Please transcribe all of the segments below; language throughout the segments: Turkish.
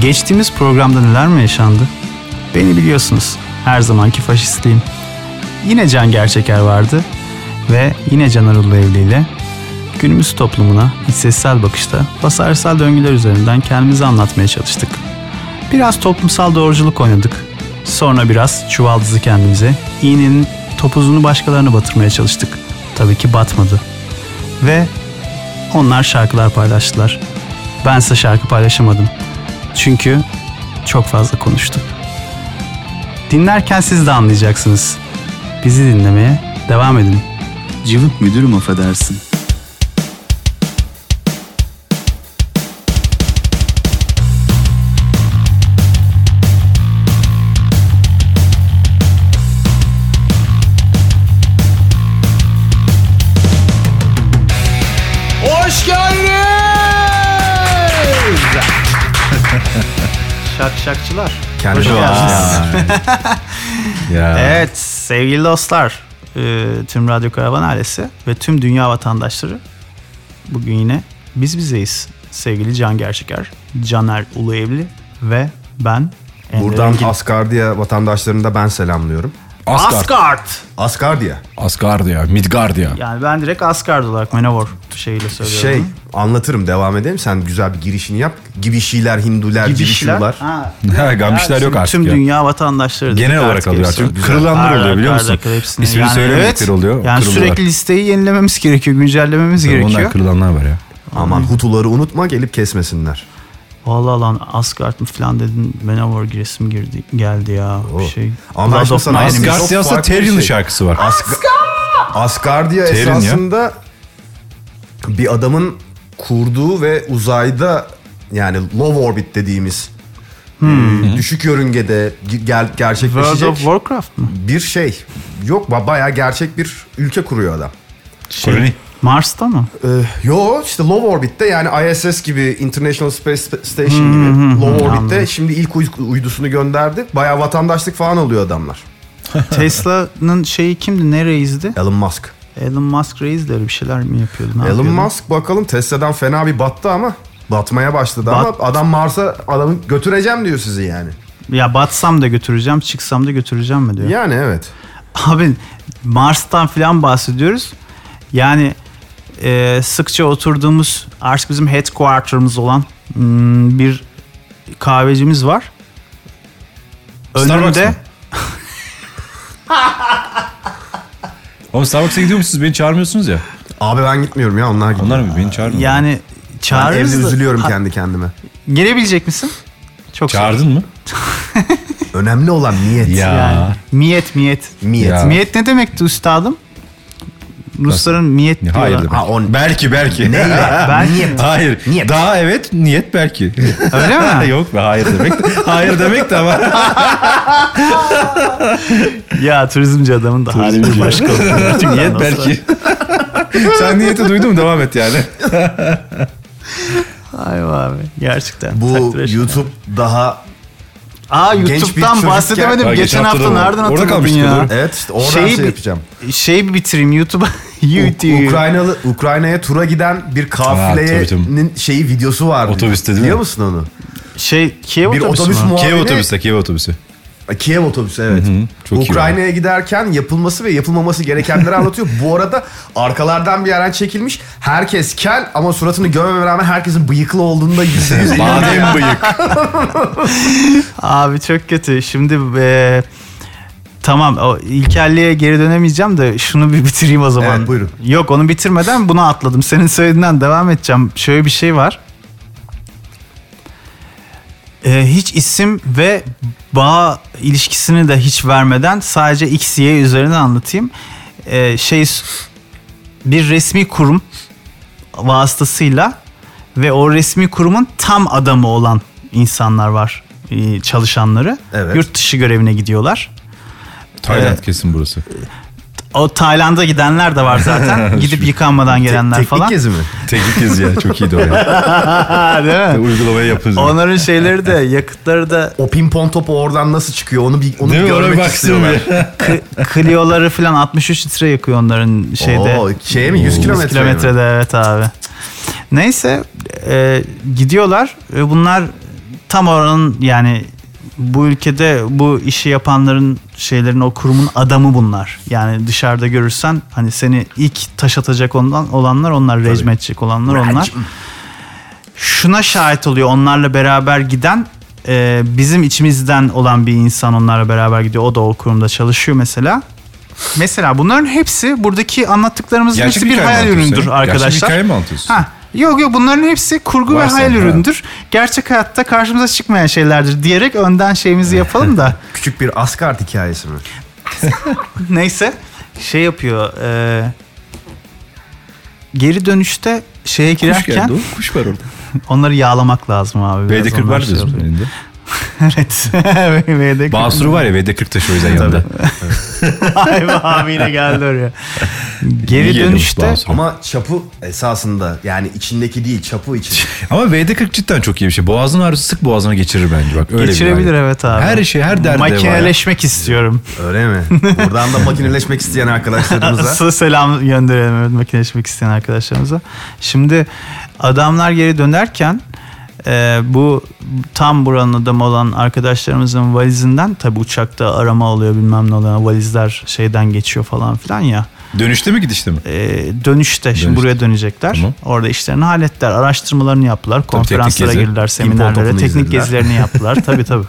Geçtiğimiz programda neler mi yaşandı? Beni biliyorsunuz. Her zamanki faşistliğim. Yine Can Gerçeker vardı ve yine Caner Ulu Evli ile günümüz toplumuna hissetsel bakışta basarsal döngüler üzerinden kendimizi anlatmaya çalıştık. Biraz toplumsal doğruculuk oynadık. Sonra biraz çuvaldızı kendimize, iğnenin topuzunu başkalarına batırmaya çalıştık. Tabii ki batmadı. Ve onlar şarkılar paylaştılar. Ben size şarkı paylaşamadım. Çünkü çok fazla konuştum. Dinlerken siz de anlayacaksınız. Bizi dinlemeye devam edin. Cıvık müdürüm affedersin. Hoş geldiniz. Şak şakçılar. Kendi Hoş geldiniz. Ya. Evet sevgili dostlar. e, Tüm Radyo Karavan ailesi ve tüm dünya vatandaşları bugün yine biz bizeyiz. Sevgili Can Gerçeker, Caner Uluevli ve ben Emre Buradan Bilgin. Asgardia vatandaşlarını da ben selamlıyorum. Asgard. Asgard. Asgardia. Asgardia. Midgardia. Yani ben direkt Asgard olarak Manowar şeyiyle söylüyorum. Şey anlatırım devam edelim. Sen güzel bir girişini yap. Gibişiler, Hinduler, Gibişiler. Ha, Ha, gamişler tüm- yok artık Tüm ya. dünya vatandaşları. Genel direkt olarak artık alıyor. hepsi. Çünkü Güzel. kırılanlar Her oluyor biliyor dakika, musun? her dakika İsmini söylemedikleri oluyor, Yani kırılıyorlar. sürekli listeyi yenilememiz gerekiyor, güncellememiz Ondan gerekiyor. kırılanlar var ya. Aman Hutuları unutma gelip kesmesinler. Vallahi lan Asgard mı falan dedin Manowar giresim girdi geldi ya bir Oo. şey. Ama ben Blood şimdi of sana My Asgard- Enemies. Çok Asgard'da aslında farklı bir Terrian'ın şey. şarkısı var. Asga- Asgardia Terin ya. esasında bir adamın kurduğu ve uzayda yani low orbit dediğimiz e, düşük yörüngede ge- gel- Hmm. World gerçekleşecek of Warcraft mı? bir şey. Yok ba- bayağı gerçek bir ülke kuruyor adam. Şey, Koloni. Mars'ta mı? Ee, yo işte low orbit'te yani ISS gibi International Space Station gibi low orbit'te şimdi ilk uy- uydusunu gönderdi. Bayağı vatandaşlık falan alıyor adamlar. Tesla'nın şeyi kimdi? Ne reisdi? Elon Musk. Elon Musk reis de öyle bir şeyler mi yapıyordu? Ne Elon yapıyordu? Musk bakalım Tesla'dan fena bir battı ama batmaya başladı Bat- ama adam Mars'a adamı götüreceğim diyor sizi yani. Ya batsam da götüreceğim, çıksam da götüreceğim mi diyor. Yani evet. Abi Mars'tan falan bahsediyoruz. Yani e, sıkça oturduğumuz artık bizim headquarter'ımız olan hmm, bir kahvecimiz var. Starbucks mı? Önünde Oğlum Starbucks'a gidiyor musunuz? Beni çağırmıyorsunuz ya. Abi ben gitmiyorum ya onlar gidiyor. Onlar mı? Beni çağırmıyor. yani Ben evde çağırırız da- üzülüyorum Ha, kendi kendime. Gelebilecek misin? Çok zor. Çağırdın mı? Önemli olan niyet. Ya. Yani, miyet miyet. Niyet. Ya. Miyet ne demekti üstadım? Rusların miyet Ya, diyorlar. Hayır demek. Ha, on- Belki belki. Ben- Hayır. Niyet. Daha evet niyet belki. Öyle mi? Yok be hayır demek. de- hayır demek de ama. Ya turizmci adamın da hali bir başka. Bütün Niyet belki. Sen niyeti duydun mu? Devam et yani. Ay abi gerçekten. Bu takdir ettim. YouTube daha Aa genç bir YouTube'dan çocukken- bahsedemedim. Ha, geçen, geçen hafta hafta da- nereden orada hatırladın kalmıştık, ya? doğru. Evet işte oradan Şeyi şey bi- yapacağım. Şeyi bir bitireyim YouTube'a. YouTube. U- Ukraynalı Ukrayna'ya tura giden bir Ha, tabii, kafilenin tabii. şeyi videosu vardı. Otobüste değil mi? Biliyor musun onu? Şey Kiev Bir otobüsü otobüs mü? mu- Kiev Muhabiri- otobüsü, Kiev otobüsü. E, Kiev otobüsü evet. çok iyi Ukrayna'ya giderken yapılması ve yapılmaması gerekenleri anlatıyor. Bu arada arkalardan bir yerden çekilmiş. Herkes kel ama suratını görmeme rağmen herkesin bıyıklı olduğunda yüzde yüz inanıyor. Badem bıyık. Abi çok kötü. Şimdi e, tamam o ilkelliğe geri dönemeyeceğim de şunu bir bitireyim o zaman. Evet, buyurun. Yok onu bitirmeden bunu atladım. Senin söylediğinden devam edeceğim. Şöyle bir şey var. E, hiç isim ve bağ ilişkisini de hiç vermeden sadece X, Y üzerine anlatayım. E, şey bir resmi kurum vasıtasıyla ve o resmi kurumun tam adamı olan insanlar var e, çalışanları. Evet. Yurt dışı görevine gidiyorlar. Tayland kesin burası. O Tayland'a gidenler de var zaten. Gidip yıkanmadan gelenler Teknik falan. gezi mi? Teknik gezi ya. Çok iyiydi o ya. Ha, değil mi? Uygulamaya yapıyoruz. Onların şeyleri de yakıtları da O pimpon topu oradan nasıl çıkıyor onu bir onu Değil bir mi? Ona bir görmek baksın istiyorlar. bir. Cl- Clio'ları falan 63 litre yakıyor onların şeyde. Oo, şeye mi 100 kilometre kilometrede mi? evet abi. Neyse e, gidiyorlar. E, bunlar tam oranın yani bu ülkede bu işi yapanların şeylerin o kurumun adamı bunlar. Yani dışarıda görürsen hani seni ilk taş atacak ondan olanlar onlar rejim edecek olanlar onlar. Şuna şahit oluyor onlarla beraber giden e, bizim içimizden olan bir insan onlarla beraber gidiyor. O da o kurumda çalışıyor mesela. Mesela bunların hepsi buradaki anlattıklarımızın Gerçek hepsi bir hikaye mi hayal anlatıyorsun ürünüdür sen? arkadaşlar. Gerçek hikaye mi anlatıyorsun? Ha, yok yok bunların hepsi kurgu ve Varsa, hayal ha. üründür. Gerçek hayatta karşımıza çıkmayan şeylerdir diyerek önden şeyimizi yapalım da. Küçük bir Asgard hikayesi mi? Neyse şey yapıyor. e, geri dönüşte şeye Kuş girerken geldi o. Kuş var orada. onları yağlamak lazım abi. biraz VD40 ondan var şey diyorsun yapıyor. elinde. evet. VD40. Basuru var ya VD40 taşı o yüzden yanında. Ay be abi yine geldi oraya. İyi Geri geliyormuş dönüşte Basuru. Ama çapı esasında yani içindeki değil çapı için. Ama VD40 cidden çok iyi bir şey. Boğazın ağrısı sık boğazına geçirir bence bak. Öyle bir geçirebilir hayal. evet abi. Her şey her derde var. ya. Makineleşmek istiyorum. Öyle mi? Buradan da makineleşmek isteyen arkadaşlarımıza. Asıl selam gönderelim evet, makineleşmek isteyen arkadaşlarımıza. Şimdi adamlar geri dönerken e, bu tam buranın adamı olan arkadaşlarımızın valizinden tabi uçakta arama oluyor bilmem ne oluyor valizler şeyden geçiyor falan filan ya Dönüşte mi gidişte mi? E, dönüşte şimdi Dönüşte. buraya dönecekler Tamam. orada işlerini hallettiler araştırmalarını yaptılar teknik konferanslara gezi. girdiler topunu seminerlere teknik izlediler. gezilerini yaptılar tabi tabi.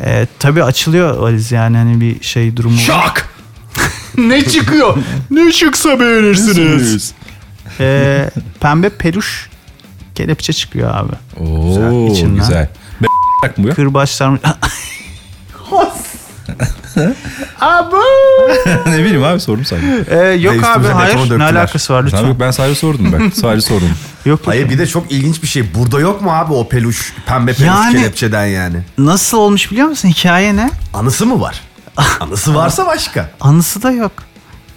E, tabii açılıyor valiz yani hani bir şey durumu. var. Şak! ne çıkıyor? ne çıksa beğenirsiniz. Ee, pembe peluş kelepçe çıkıyor abi. Oo İçinden. güzel. Be tak mı bu ya? Kırbaçlar... Abi. ne bileyim abi sordum sadece. Ee, yok Üstümüze abi betonu hayır ne döktüler. alakası var lütfen. Tamam yok ben sadece sordum ben. Sadece sordum. Yok Hayır bir de çok ilginç bir şey. Burada yok mu abi o peluş, pembe peluş Yani- kelepçeden yani? nasıl olmuş biliyor musun hikaye ne? Anısı mı var? Anısı varsa başka. Anısı da yok.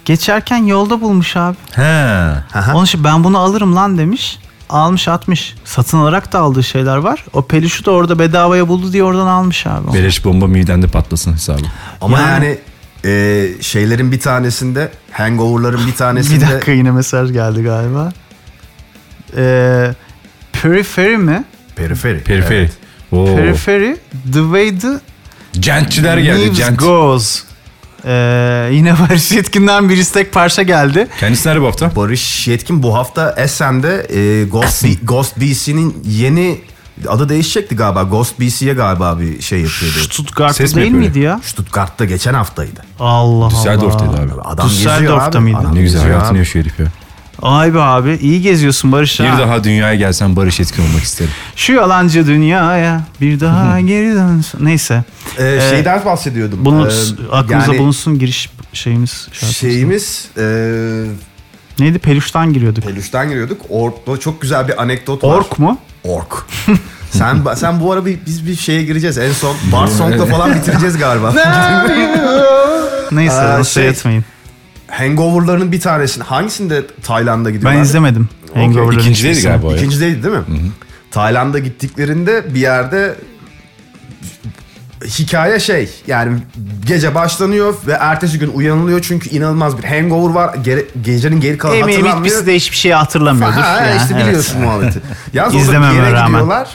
Geçerken yolda bulmuş abi. He. Ha? Onun için ben bunu alırım lan demiş. Almış atmış. Satın alarak da aldığı şeyler var. O peluşu da orada bedavaya buldu diye oradan almış abi. Beleş bomba midende patlasın hesabı. Ama Yani- yani, e, şeylerin bir tanesinde, hangoverların bir tanesinde. Bir dakika yine mesaj geldi galiba. Ee, periphery mi? Periferi. Periferi. Evet. Oo. Periphery The Way The Gentçiler geldi. News Gent. Goes. Ee, yine Barış Yetkin'den bir istek parça geldi. Kendisi nerede bu hafta? Barış Yetkin bu hafta Esen'de e, Ghost, D- Ghost DC'nin yeni adı değişecekti galiba. Ghost BC'ye galiba bir şey yapıyordu. Stuttgart'ta Ses mi değil yapıyor miydi ya? Stuttgart'ta geçen haftaydı. Allah Allah. Düsseldorf'taydı abi. Adam geziyor Düsseldorf'ta abi. mıydı? Adam Ne güzel geziyor hayatını abi. yaşıyor herif ya. Ay be abi iyi geziyorsun Barış Bir ha. daha dünyaya gelsen Barış Etkin olmak isterim. Şu yalancı dünyaya bir daha geri dönsün. Neyse. Ee, Ee, şeyden bahsediyordum. Bunu Ee, aklımıza yani bulunsun giriş şeyimiz. şarkımız. Şeyimiz e, Neydi? Peluştan giriyorduk. peluştan giriyorduk. Ork'ta çok güzel bir anekdot var. Ork mu? Ork. sen sen bu ara bir, biz bir şeye gireceğiz. En son Bar Song'la falan bitireceğiz galiba. Neyse Aa, nasıl şey- yatmayın. Hangover'ların bir tanesini hangisinde Tayland'a Ben gidiyorlar? izlemedim. Hangover'ların İkinciydi hiçbirisini. galiba o ya. İkincideydi değil mi? Tayland'a gittiklerinde bir yerde hikaye şey yani gece başlanıyor ve ertesi gün uyanılıyor çünkü inanılmaz bir hangover var. Gere- gecenin geri kalanı Eminim hatırlanmıyor. hiçbirisi de hiçbir şey hatırlamıyordur. Ha, Yani, işte evet. biliyorsun muhabbeti. Yalnız orada bir İzlememe yere rağmen. gidiyorlar.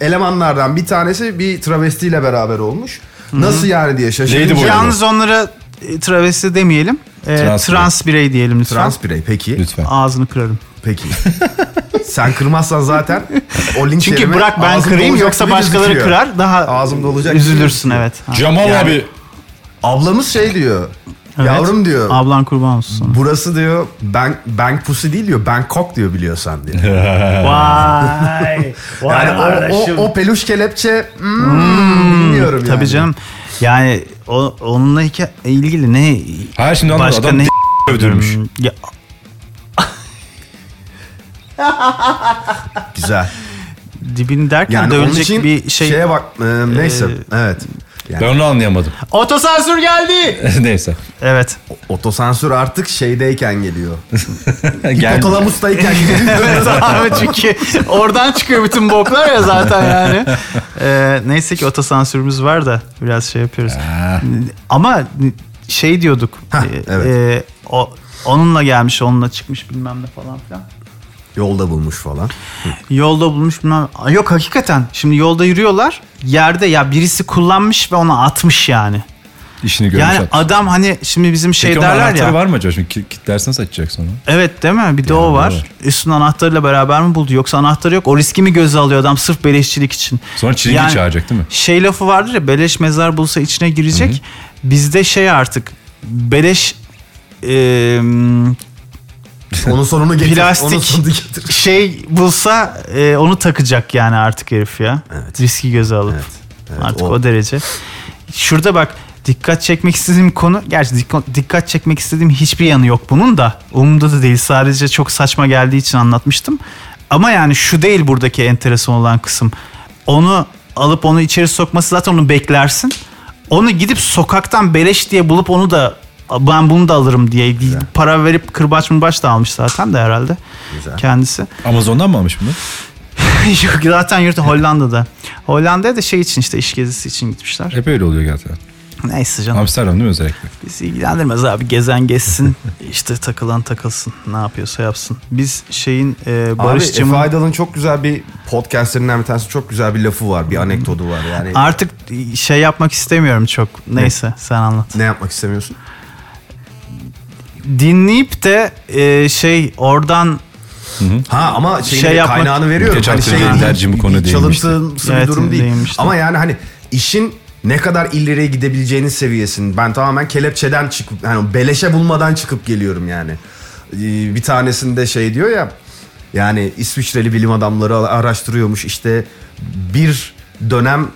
Ee, elemanlardan bir tanesi bir travestiyle beraber olmuş. Nasıl yani diye Neydi bu şaşırınca. arada? Yalnız onlara e, travesti demeyelim. E, Trans trans, birey diyelim lütfen. Trans birey peki. Lütfen. Ağzını kırarım. Peki. Sen kırmazsan zaten o linç Çünkü yerime bırak ben Şey ağzımda kırayım olacak yoksa gibi başkaları gözüküyor. kırar daha Ağzımda olacak üzülürsün gibi evet. Ha. Cemal Yani- abi. Ablamız şey diyor. Evet. Yavrum diyor. Ablan kurban olsun sana. Burası diyor bank bank pussy değil diyor. Bangkok diyor biliyorsan diyor. Vay. Vay Yani o, o, kardeşim. o peluş kelepçe hmm, bilmiyorum yani. Tabii canım. Yani o, onunla hikaye, ilgili ne? Hayır şimdi anladım. Başka Adam ne? Hmm. övdürmüş. Ya, Güzel. dibini derken Yani onun dövülecek için bir şey. Ee, şeye bak e, neyse evet. Ben Yani onu anlayamadım. Otosansür geldi. Neyse. Evet. otosansür artık şeydeyken geliyor. Gel. Otolamustayken geliyor. Evet abi çünkü oradan çıkıyor bütün boklar ya zaten yani. Ee, neyse ki otosansürümüz var da biraz şey yapıyoruz. Ama şey diyorduk. Hah, e, evet. e, o onunla gelmiş, onunla çıkmış bilmem ne falan filan. Yolda bulmuş falan. Yolda bulmuş bilmem. Aa, Yok hakikaten. Şimdi yolda yürüyorlar. Yerde ya birisi kullanmış ve ona atmış yani. İşini görmüş yani atmış. adam hani şimdi bizim şey Peki onun derler anahtarı ya. var mı acaba? Şimdi ki- kilitlersen saçacak sonra. Evet değil mi? Bir de o Yani var. var. Üstünün anahtarıyla beraber mi buldu? Yoksa anahtarı yok. O riski mi göze alıyor adam sırf beleşçilik için? Sonra çilingir çağıracak değil mi? Şey lafı vardır ya beleş mezar bulsa içine girecek. Bizde şey artık beleş e, Onun sonunu getir. Plastik. Onun sonunu getir. şey bulsa e, onu takacak yani artık herif ya. Evet. Riski göze alıp. Evet, evet, artık o. o- derece. Şurada bak dikkat çekmek istediğim konu gerçi dik- dikkat çekmek istediğim hiçbir yanı yok bunun da umurumda da değil sadece çok saçma geldiği için anlatmıştım. Ama yani şu değil buradaki enteresan olan kısım. Onu alıp onu içeri sokması zaten onu beklersin. Onu gidip sokaktan beleş diye bulup onu da ben bunu da alırım diye para verip kırbaç mırbaç da almış zaten de herhalde Güzel. kendisi. Amazon'dan mı almış bunu? Yok zaten yurt Hollanda'da. Hollanda'ya da şey için işte iş gezisi için gitmişler. Hep öyle oluyor zaten. Neyse canım Amsterdam değil mi özellikle? bizi ilgilendirmez abi gezen gezsin işte takılan takılsın ne yapıyorsa yapsın. Biz şeyin e, Barış'cığım. Barış'cığım Efe Aydal'ın çok güzel bir podcastlerinden bir tanesi çok güzel bir lafı var. Bir anekdotu var yani. artık şey yapmak istemiyorum çok. Neyse sen anlat. ne yapmak istemiyorsun? Dinleyip de e, şey oradan Ha ama şeyin Şey de yapmak- kaynağını veriyorum. Geçen hafta benim tercihim bu konuda değinmişti. çalıntımsı bir Evet, durum değil. değinmişti. Ama yani hani işin ne kadar ileriye gidebileceğinin seviyesini ben tamamen kelepçeden çıkıp yani beleşe bulmadan çıkıp geliyorum yani. Ee, Bir tanesinde şey diyor ya yani İsviçreli bilim adamları araştırıyormuş işte bir dönem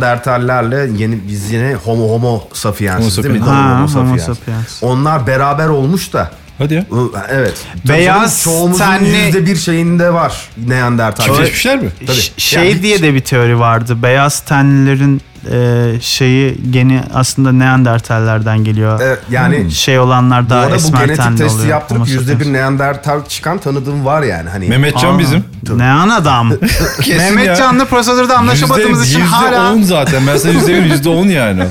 Neandertallerle yeni biz yine Homo Homo sapiens Homo değil mi? sapiens. Homo, Ha, homo Homo sapiens. sapiens. Onlar beraber olmuş da Hadi ya. Evet. Beyaz Tabii canım, çoğumuzun tenli- yüzde bir şeyinde var Neandertal. Çiftleşmişler mi? Tabii. Ş- şey Yani- diye de bir teori vardı. Beyaz tenlilerin e, şeyi geni aslında Neandertallerden geliyor. Evet, yani şey olanlar bu daha arada bu esmer genetik tenli testi oluyor. yaptırıp Homo yüzde sapiens. bir Neandertal çıkan tanıdığım var yani. Hani Mehmetcan Aa, bizim. Ne an adam. Mehmet Can'la prosedürde anlaşamadığımız için hala. %10 zaten. Ben sana %1, %10 yani.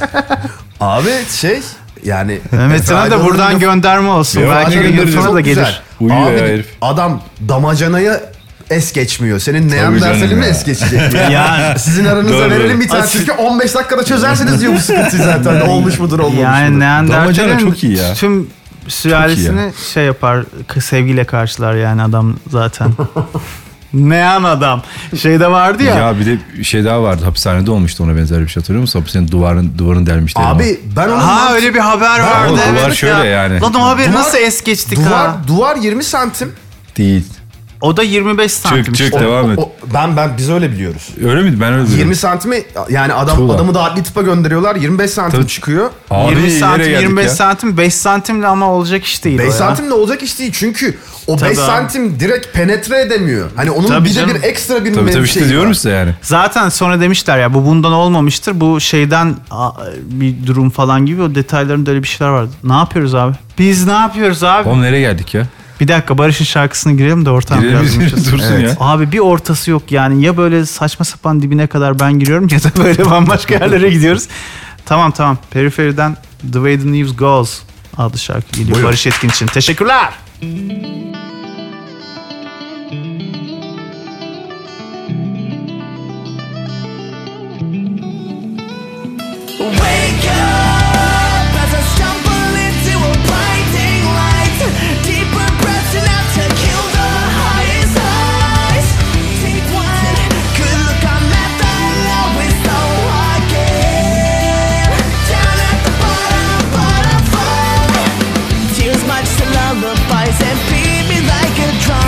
abi şey yani Mehmet Can'a da Aydın'ın buradan lafı- gönderme olsun. Yok, Belki göndereceğiz. yurtuna Çok da güzel. gelir. Uyuyor Abi, ya herif. Adam damacanayı es geçmiyor. Senin Neandertal'in canım mi ya. es geçecek? Yani- Sizin aranıza Doğru. verelim bir tane. Asıl- Çünkü 15 dakikada çözersiniz diyor bu sıkıntıyı zaten. olmuş mudur olmamış Yani mudur? Neandertal'in Damacana çok iyi ya. tüm sülalesini şey yapar, k- sevgiyle karşılar yani adam zaten. ne an adam. Şeyde vardı ya. Ya bir de bir şey daha vardı. Hapishanede olmuştu ona benzer bir şey hatırlıyor musun? Hapishanenin duvarın, duvarını delmişti. Abi ben onun ha öyle bir haber vardı. o duvar evet şöyle ya. yani. Lan o haberi Duvar- nasıl es geçtik ha? duvar, duvar 20 santim. Değil. O da 25 santim. çık. işte. Devam et. ben ben biz öyle biliyoruz. Öyle miydi? Ben öyle 20 santime yani adam Tuğla. adamı da adli tıpa gönderiyorlar. 25 santim Tabii. çıkıyor. 20 santim, 25 santim, 5 santimle ama olacak iş değil. 5 o ya. santim de olacak iş değil çünkü o Tabii 5 abi. santim direkt penetre edemiyor. Hani onun Tabii bir canım. de bir ekstra bir Tabii tabii şey işte diyorum var. size yani. Zaten sonra demişler ya bu bundan olmamıştır. Bu şeyden a, bir durum falan gibi o detaylarında öyle bir şeyler vardı. Ne yapıyoruz abi? Biz ne yapıyoruz abi? Oğlum nereye geldik ya? Bir dakika Barış'ın şarkısını girelim de ortam Girelim biraz. biz- yumuşasın. dursun ya. Abi bir ortası yok yani ya böyle saçma sapan dibine kadar ben giriyorum ya da böyle bambaşka yerlere gidiyoruz. Tamam tamam periferiden The Way The News Goes adlı şarkı geliyor Buyurun. Barış Etkin için. Teşekkürler. Wake up as I stumble into a blinding light. Deeper breaths enough to kill the highest highs. Take one good look, I'm at the lowest low again. Down at the bottom, butterfly. Tears much to lullabies and feed me the Oh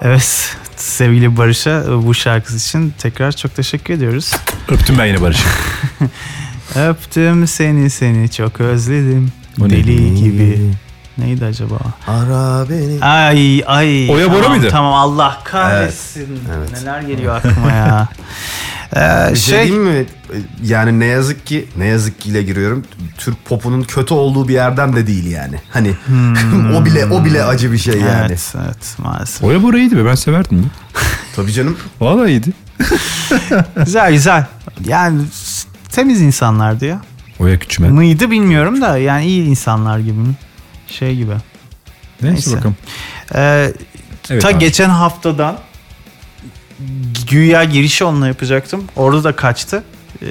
Evet sevgili Barış'a bu şarkısı için tekrar çok teşekkür ediyoruz. Öptüm ben yine Barış'ı. Öptüm seni seni çok özledim. O neydi? Deli gibi. Neydi acaba? Ara beni. Ay ay. Oya Bora tamam, mıydı? Tamam Allah kahretsin. Neler geliyor aklıma ya. Ee, Bir şey, şey, diyeyim mi? Yani ne yazık ki, ne yazık ki ile giriyorum. Türk popunun kötü olduğu bir yerden de değil yani. Hani o bile o bile acı bir şey yani. Evet, evet maalesef. Oya Bora iyiydi be ben severdim. ya. Tabii canım. Vallahi iyiydi. güzel güzel. Yani temiz insanlardı ya. Oya Küçümen. Mıydı bilmiyorum da yani iyi insanlar gibi mi? Şey gibi. Neyse, Neyse. bakalım. Ee, Evet ta abi. geçen haftadan güya girişi onunla yapacaktım. Orada da kaçtı. Ee,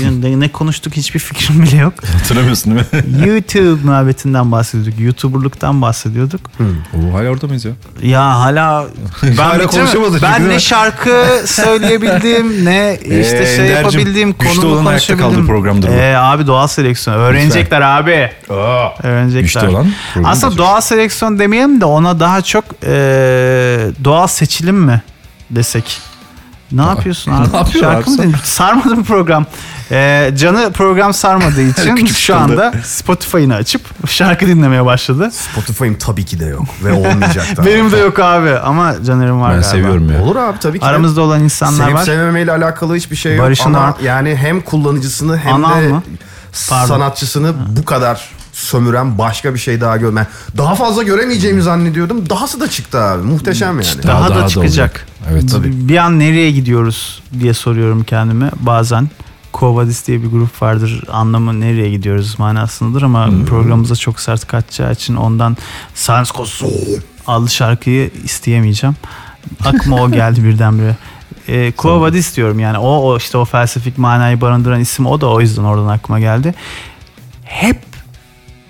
yine de ne konuştuk hiçbir fikrim bile yok. Hatırlamıyorsun değil mi? YouTube muhabbetinden bahsediyorduk. YouTuber'lıktan bahsediyorduk. Oo, hala orada mıyız ya? Ya hala ben, Hala bitiremem- konuşamadık çünkü, ben değil ne mi? şarkı söyleyebildim ne işte Ee, şey Ender'cim, yapabildim güçlü konumu olan ayakta kaldı konuşabildim. programdır bu. Ee, abi doğal seleksiyon öğrenecekler abi. Öğrenecekler. Güçlü olan programı Aslında olacak. doğal seleksiyon demeyelim de ona daha çok ee, doğal seçilim mi desek. Ne yapıyorsun abi? ne yapıyor Şarkı abi mı sen? dinliyorsun? Sarmadı mı program? Ee, canı program sarmadığı için Küçük şu anda Spotify'ını açıp şarkı dinlemeye başladı. Spotify'ım tabii ki de yok ve olmayacak da. Benim de yok abi ama Caner'im var Ben galiba. seviyorum ya. Olur abi tabii ki. de. Aramızda olan insanlar Sevip var. sevmemeyle alakalı hiçbir şey yok. Barış'ın Ama da- yani hem kullanıcısını hem Anal de mı? Pardon. sanatçısını bu kadar sömüren başka bir şey daha görmen. Daha fazla göremeyeceğimi zannediyordum. Dahası da çıktı abi. Muhteşem yani. daha, Daha- da daha da çıkacak. olacak. Evet. Tabii. Bir an nereye gidiyoruz diye soruyorum kendime bazen. Kovadis diye bir grup vardır. Anlamı nereye gidiyoruz manasındadır ama Hmm. programımıza çok sert kaçacağı için ondan sans kosu adlı şarkıyı isteyemeyeceğim. Aklıma o geldi birdenbire. E, Kovadis diyorum yani o, o işte o felsefik manayı barındıran isim o da o yüzden oradan aklıma geldi. Hep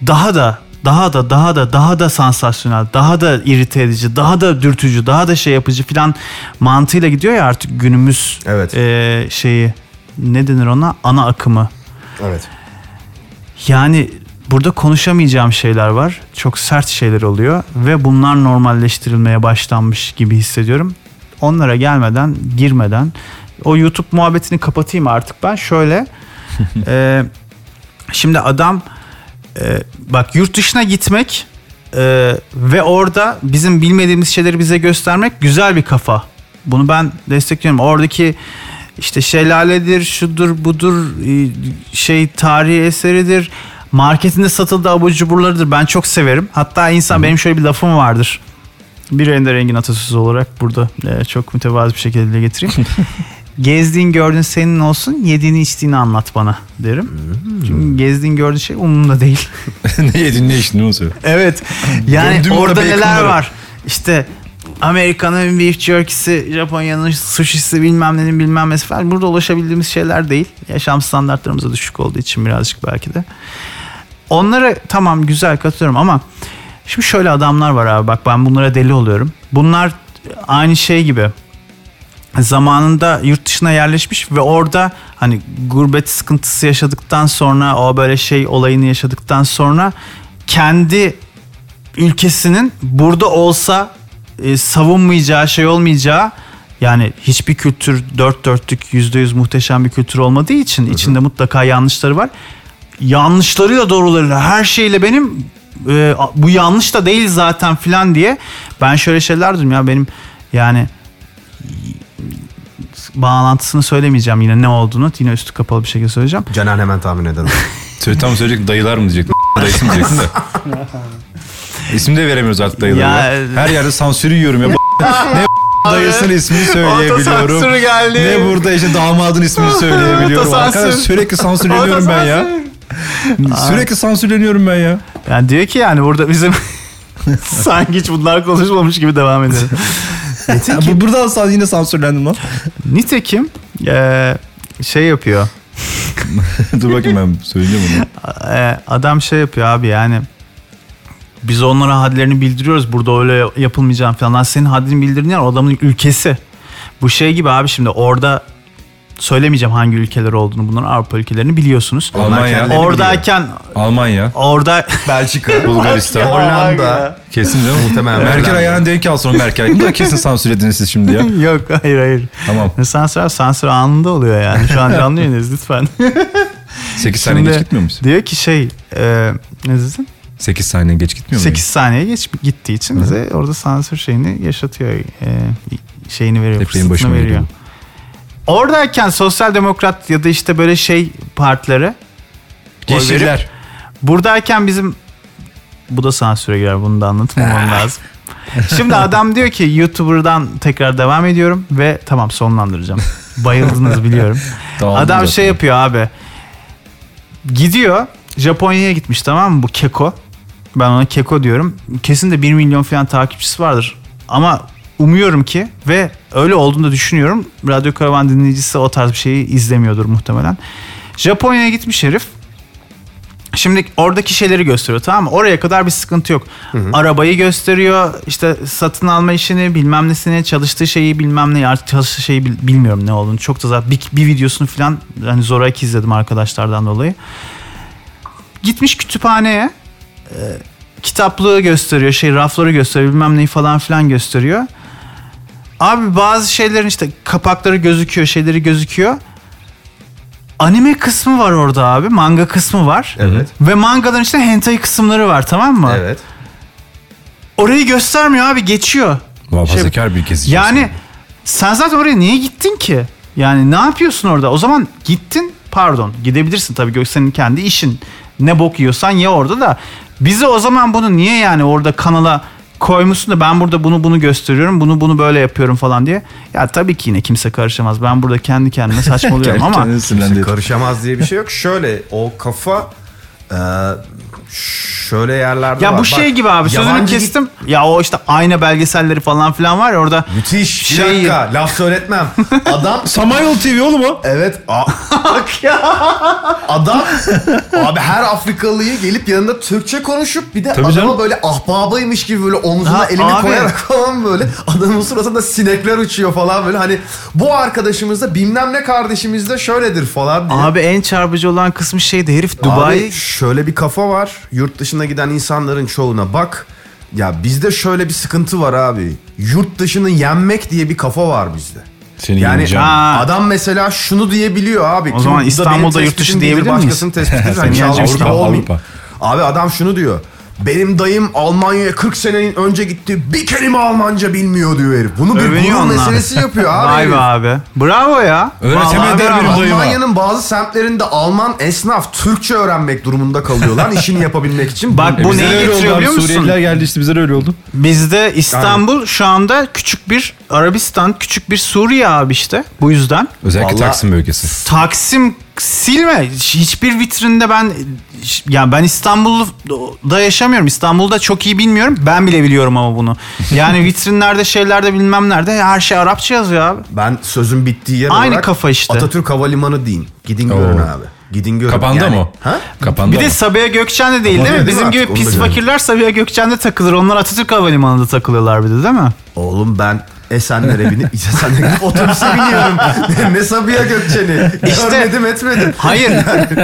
daha da daha da daha da daha da sansasyonel, daha da irite edici, daha da dürtücü, daha da şey yapıcı filan mantığıyla gidiyor ya artık günümüz Evet. eee, şeyi ne denir ona ana akımı. Evet. Yani burada konuşamayacağım şeyler var. Çok sert şeyler oluyor ve bunlar normalleştirilmeye başlanmış gibi hissediyorum. Onlara gelmeden, girmeden o YouTube muhabbetini kapatayım artık ben. Şöyle e, şimdi adam e, bak yurt dışına gitmek e, ve orada bizim bilmediğimiz şeyleri bize göstermek güzel bir kafa. Bunu ben destekliyorum. Oradaki işte şelaledir, şudur, budur, e, şey tarihi eseridir. Marketinde satıldığı abur cuburlarıdır. Ben çok severim. Hatta insan benim şöyle bir lafım vardır. Bir Ender Engin atasözü olarak burada e, çok mütevazı bir şekilde dile getireyim. Gezdiğin gördüğün senin olsun, yediğini içtiğini anlat bana derim. Çünkü gezdiğin gördüğün şey umurumda değil. ne yedin ne içtin onu söyle. Evet. Yani Döndüğüm orada orada neler baconları. var? İşte Amerika'nın beef jerky'si, Japonya'nın sushisi bilmem nenin bilmem nesi falan. Burada ulaşabildiğimiz şeyler değil. Yaşam standartlarımıza düşük olduğu için birazcık belki de. Onlara tamam güzel katılıyorum ama şimdi şöyle adamlar var abi bak ben bunlara deli oluyorum. Bunlar aynı şey gibi zamanında yurt dışına yerleşmiş ve orada hani gurbet sıkıntısı yaşadıktan sonra o böyle şey olayını yaşadıktan sonra kendi ülkesinin burada olsa e, savunmayacağı şey olmayacağı yani hiçbir kültür dört dörtlük yüzde yüz muhteşem bir kültür olmadığı için içinde mutlaka yanlışları var. Yanlışlarıyla doğrularıyla her şeyle benim e, a- bu yanlış da değil zaten filan diye ben şöyle şeyler duydum ya benim yani bağlantısını söylemeyeceğim yine ne olduğunu yine üstü kapalı bir şekilde söyleyeceğim. Canan hemen tahmin eder. Söyle tam söyleyecektim dayılar mı diyecektim. Dayısı mı diyecektim de. İsim de veremiyoruz artık dayılara. Ya- ya. Her yerde sansürü yiyorum ya. ne dayısının ismini söyleyebiliyorum. geldi. Ne burada işte damadın ismini söyleyebiliyorum. Otosansür. Arkadaş sürekli sansürleniyorum ben ya. Sürekli sansürleniyorum ben ya. Yani diyor ki yani burada bizim sanki hiç bunlar konuşmamış gibi devam edelim. Ya bu- buradan sonra yine sansürlendim lan. Nitekim eee, şey yapıyor. Dur bakayım ben söyleyeceğim onu. Eee, adam şey yapıyor abi yani biz onlara hadlerini bildiriyoruz. Burada öyle yapılmayacağını falan. Lan senin haddini bildirin yani o adamın ülkesi. Bu şey gibi abi şimdi orada söylemeyeceğim hangi ülkeler olduğunu. Bunların Avrupa ülkelerini biliyorsunuz. Almanya. kendileri biliyor. Oradayken Almanya, orada Belçika, Bulgaristan. Hollanda. Kesin değil mi? Muhtemelen Merkel Hollanda. ayağını denk alsın o Merkel. Bunu da kesin sansürlediniz siz şimdi ya. Yok hayır hayır. Tamam. Sansür sansür anında oluyor yani. Şu an canlı yayındayız lütfen. 8 saniye Şimdi geç gitmiyor muyuz? Diyor ki şey e, ne dedin? 8 saniye geç gitmiyor muyuz? 8 saniye geç gittiği için bize orada sansür şeyini yaşatıyor. e, şeyini veriyor, Hep benim fırsatını başıma veriyor. geliyor. Oradayken sosyal demokrat ya da işte böyle şey partilere oy verip- Yeşiller. Buradayken bizim bu da sansüre girer bunu da anlatmamam lazım. Şimdi adam diyor ki YouTuber'dan tekrar devam ediyorum ve tamam sonlandıracağım. Bayıldınız biliyorum. Tamam, adam zaten. şey yapıyor abi. Gidiyor Japonya'ya gitmiş tamam mı bu Keko. Ben ona Keko diyorum. Kesin de 1 milyon falan takipçisi vardır. Ama umuyorum ki ve öyle olduğunu da düşünüyorum. Radyo Karavan dinleyicisi o tarz bir şeyi izlemiyordur muhtemelen. Japonya'ya gitmiş herif. Şimdi oradaki şeyleri gösteriyor tamam mı? Oraya kadar bir sıkıntı yok. Arabayı gösteriyor, işte satın alma işini, bilmem nesini, çalıştığı şeyi bilmem ne, artık çalıştığı şeyi bil- bilmiyorum ne olduğunu. Çok da zaten bir, bir videosunu falan hani zoraki izledim arkadaşlardan dolayı. Gitmiş kütüphaneye, e, kitaplığı gösteriyor, şey rafları gösteriyor, bilmem neyi falan filan gösteriyor. Abi bazı şeylerin işte kapakları gözüküyor, şeyleri gözüküyor. Anime kısmı var orada abi. Manga kısmı var. Evet. Ve mangaların içinde hentai kısımları var tamam mı? Evet. Orayı göstermiyor abi geçiyor. Muhafazakar bir kesici. Yani sen zaten oraya niye gittin ki? Yani ne yapıyorsun orada? O zaman gittin pardon gidebilirsin tabii Göksel'in kendi işin. Ne bok yiyorsan ye orada da. Bize o zaman bunu niye yani orada kanala koymuşsun da ben burada bunu bunu gösteriyorum bunu bunu böyle yapıyorum falan diye. Ya tabii ki yine kimse karışamaz. Ben burada kendi kendime saçmalıyorum ama Kendini Kimse sinirlendi. karışamaz diye bir şey yok. Şöyle o kafa e, şöyle yerlerde Ya var. bu Bak, şey gibi abi sözünü yabancı kestim. Ya o işte ayna belgeselleri falan filan var ya orada. Müthiş. Bir Şey- dakika. Laf söyletmem. Adam Samayol TV oğlum o. evet. a- Adam abi her Afrikalıyı gelip yanında Türkçe konuşup bir de adama canım. böyle ahbabaymış gibi böyle omzuna Ha, elini abi. koyarak falan böyle adamın suratında sinekler uçuyor falan böyle hani bu arkadaşımızda bilmem ne kardeşimizde şöyledir falan diye. Abi en çarpıcı olan kısmı şeydi herif Dubai. Abi şöyle bir kafa var. Yurt dışına giden insanların çoğuna bak. Ya bizde şöyle bir sıkıntı var abi. Yurt dışını yenmek diye bir kafa var bizde. Seni Yani yeneceğim. Ha. adam mesela şunu diyebiliyor abi. Kim- zaman bu da İstanbul'da benim yurt dışı tespitim diyebilir miyiz? Başkasının tespitidir. Seni hani yeneceğim Avrupa İstanbul, olmayayım. Avrupa. Abi adam şunu diyor. Benim dayım Almanya'ya 40 sene önce gitti. Bir kelime Almanca bilmiyor diyor herif. Bunu bir Övünüyor gurur onlar. meselesi yapıyor abi. Vay herif. be abi. Bravo ya. Öğretemedi Vallahi der bravo. benim dayı. Dayıma. Almanya'nın bazı semtlerinde Alman esnaf Türkçe öğrenmek durumunda kalıyorlar işini yapabilmek için. Bak bu E, Bize de neyi öyle oldu getiriyor abi. biliyor musun? Suriyeliler geldi işte bize de öyle oldu. Bizde İstanbul şu anda küçük bir Arabistan, küçük bir Suriye abi işte. Bu yüzden. Özellikle Vallahi- Taksim bölgesi. Taksim silme. Hiçbir vitrinde ben ya ben İstanbul'da yaşamıyorum. İstanbul'da çok iyi bilmiyorum. Ben bile biliyorum ama bunu. Yani vitrinlerde şeylerde bilmem nerede her şey Arapça yazıyor abi. Ben sözün bittiği yer Aynı olarak kafa işte. Atatürk Havalimanı deyin. Gidin görün Oo. abi. Gidin görün. Kapandı Yani- mı? o? Ha? Kapandı Bir de ama. Sabiha Gökçen de değil Ama değil mi? değil mi Bizim artık? gibi Onu da pis görmedim. fakirler Sabiha Gökçen'de takılır. Onlar Atatürk Havalimanı'nda takılıyorlar bir de değil mi? Oğlum ben Esenler'e binip Esenler'e gidip otobüse biniyorum. ne Sabiha Gökçen'i. İşte- Görmedim etmedim. Hayır.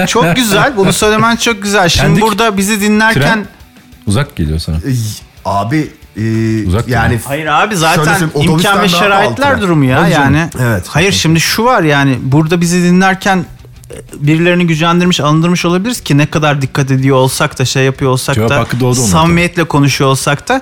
çok güzel. Bunu söylemen çok güzel. Şimdi Kendi burada bizi dinlerken... tren- Uzak geliyor sana. Ey, Abi e, Uzak yani mı? Hayır abi Şöyle zaten söyleyeyim, otobüsten imkan ve daha şeraitler altına. durumu ya Tabii canım. yani. Evet. Hayır şimdi şu var yani burada bizi dinlerken e, birilerini gücendirmiş, alındırmış olabiliriz ki ne kadar dikkat ediyor olsak da şey yapıyor olsak Cevap hakkı da doğdu onun samimiyetle konuşuyor olsak da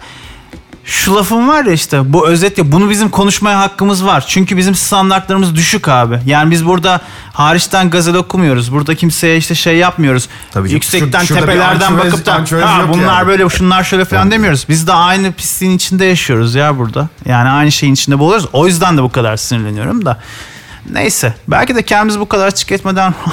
şu lafım var ya işte bu özetle bunu bizim konuşmaya hakkımız var. Çünkü bizim standartlarımız düşük abi. Yani biz burada hariçten gazete okumuyoruz. Burada kimseye işte şey yapmıyoruz. Tabii canım. Yüksekten Şur- şurada bir tepelerden ançorez- bakıp da ançorez "Ha, yok bunlar yani." böyle böyle şunlar şöyle falan demiyoruz. Biz de aynı pisliğin içinde yaşıyoruz ya burada. Yani aynı şeyin içinde boğuluyoruz. O yüzden de bu kadar sinirleniyorum da. Neyse. Belki de kendimizi bu kadar açık etmeden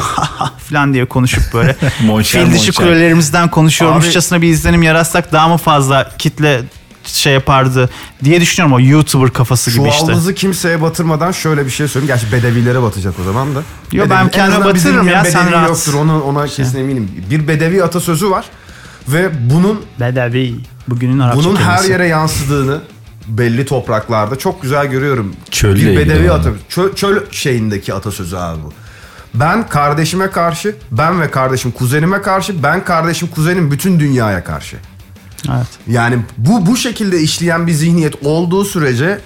falan diye konuşup böyle Monşer, fil dişi monşer. kulelerimizden konuşuyormuşçasına bir izlenim yaratsak daha mı fazla kitle şey yapardı diye düşünüyorum o YouTuber kafası gibi işte. Çuvalınızı kimseye batırmadan şöyle bir şey söyleyeyim. Gerçi bedevilere batacak o zaman da. Yo, ben Bedevi- en kendime azından bizim batırırım gibi ya, sen bedevi rahat. şey. yoktur onu, ona kesin eminim. Bir bedevi atasözü var. Ve bunun Bedevi. Bugünün Arapça bunun her kelimesi. yere yansıdığını belli topraklarda çok güzel görüyorum. Çölle bir bedevi ilgili olan. atasözü. Çöl, çöl şeyindeki atasözü abi bu. Ben kardeşime karşı, ben ve kardeşim kuzenime karşı, ben kardeşim kuzenim bütün dünyaya karşı. Evet. Yani bu bu şekilde işleyen bir zihniyet olduğu sürece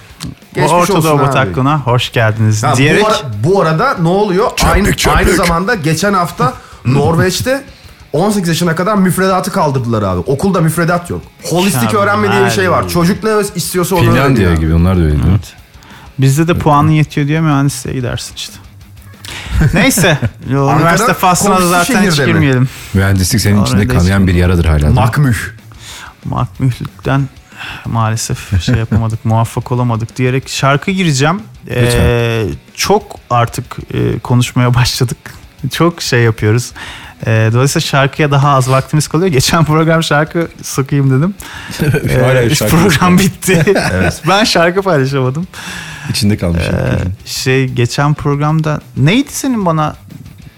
geçmiş Bu Orta olsun Doğu abi. Batı aklına hoş geldiniz Ha, diyerek bu, ara- bu arada ne oluyor? aynı, aynı zamanda geçen hafta Norveç'te 18 yaşına kadar müfredatı kaldırdılar abi. Okulda müfredat yok. Holistik Mükemmel. öğrenme diye bir şey var. Çocuk ne istiyorsa onu Finlandiya öğreniyor. gibi onlar da öyle değil mi? bizde de puanın yetiyor diye mühendisliğe gidersin işte. Neyse. Üniversite faslına da komşu zaten hiç şehirde mi? girmeyelim. Mühendislik senin içinde Orada kanayan bir yaradır hala. değil mi? Makmüh. Makmühlükten maalesef şey yapamadık, muvaffak olamadık diyerek şarkı gireceğim. Ee, çok artık e, konuşmaya başladık. Çok şey yapıyoruz. Ee, dolayısıyla şarkıya daha az vaktimiz kalıyor. Geçen program şarkı sokayım dedim. Ee, E, Hala üç şarkı program bitti. Ben şarkı paylaşamadım. İçinde kalmış. Ee, şey geçen programda neydi senin bana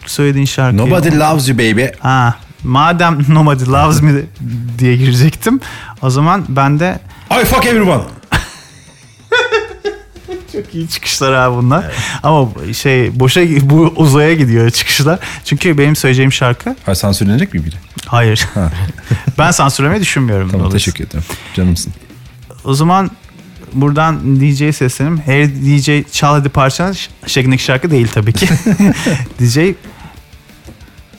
söylediğin şarkı? Nobody loves you baby. Ha, madem Nobody Loves Me diye girecektim. O zaman ben de I fuck everyone. Çok iyi çıkışlar abi bunlar. Ama şey boşa bu uzaya gidiyor çıkışlar. Çünkü benim söyleyeceğim şarkı Ha, sansürlenecek mi biri? hayır. ben sansürlemeyi düşünmüyorum. Tamam dolayısıyla. teşekkür ederim. Canımsın. O zaman buradan DJ'ye seslenim. Her DJ çal hadi parçanı ş- şeklindeki şarkı değil tabii ki. DJ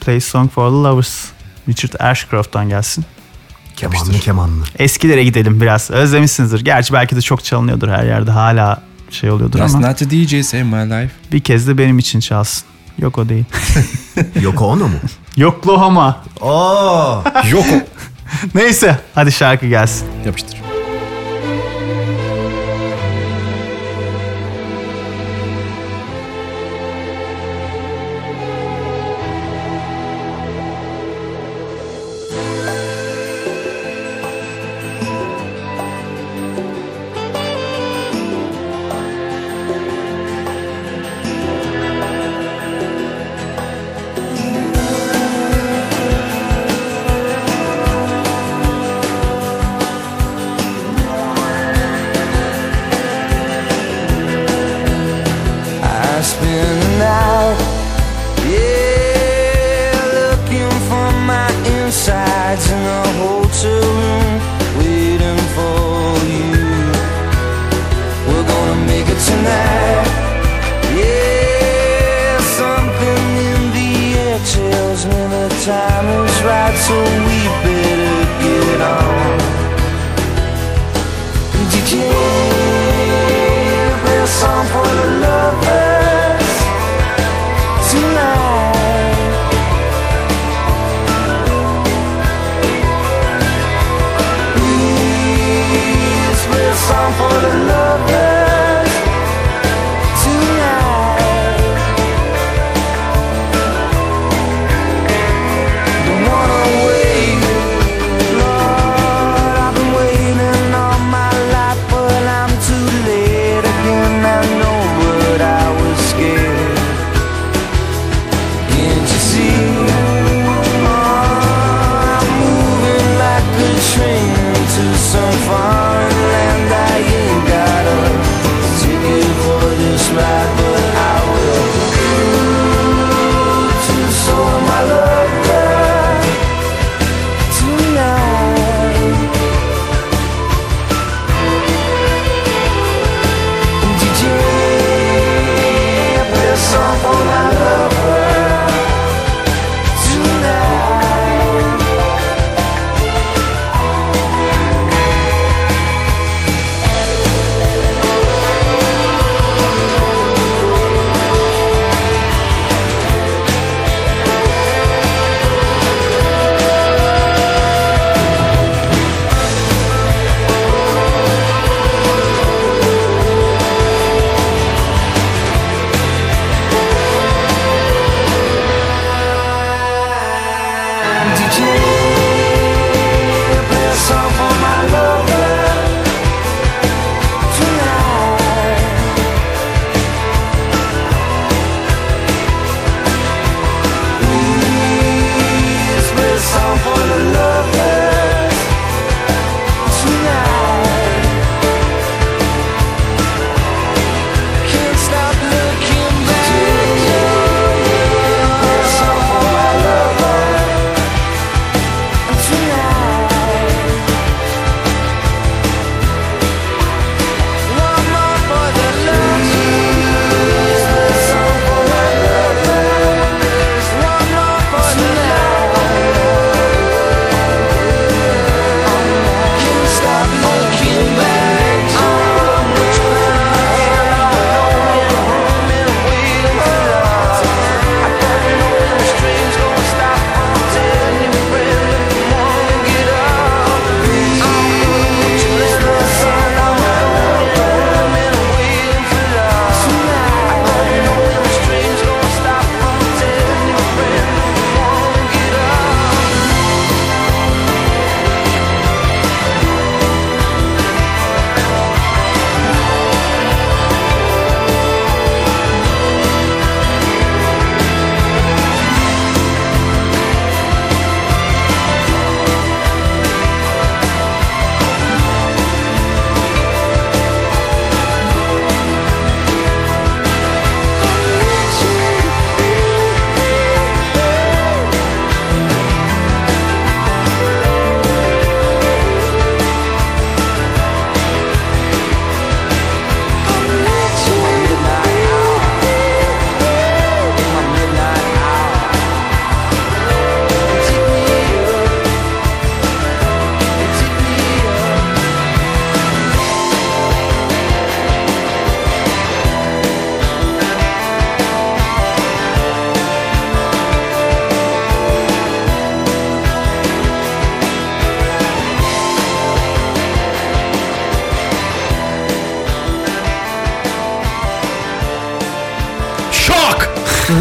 Play Song for the Lovers. Richard Ashcroft'tan gelsin. Kemanlı kemanlı. Eskilere gidelim biraz. Özlemişsinizdir. Gerçi belki de çok çalınıyordur her yerde. Hala şey oluyordur That's ama not a DJ save my life. bir kez de benim için çalsın. Yok o değil. Yoko Ono mu? Yoklohama. Oo. Yok o. Neyse hadi şarkı gelsin. Yapıştır. I spend the night, yeah, looking for my insides in a hotel room, waiting for you. We're gonna make it tonight, yeah. Something in the air tells me the time is right, so we better get on. DJ, play a song for the lovers tonight. Please play a song for the lovers tonight. Don't wanna wait. Lord, I've been waiting all my life, but I'm too late again. I know, but I was scared. Can't you see? Oh, I'm moving like a train to some foreign land. I ain't got a ticket for this ride, but I will. To soul, my lover tonight. Did you play a song for my lover tonight? Did you play a song for my lover tonight? Please play a song for the lovers tonight.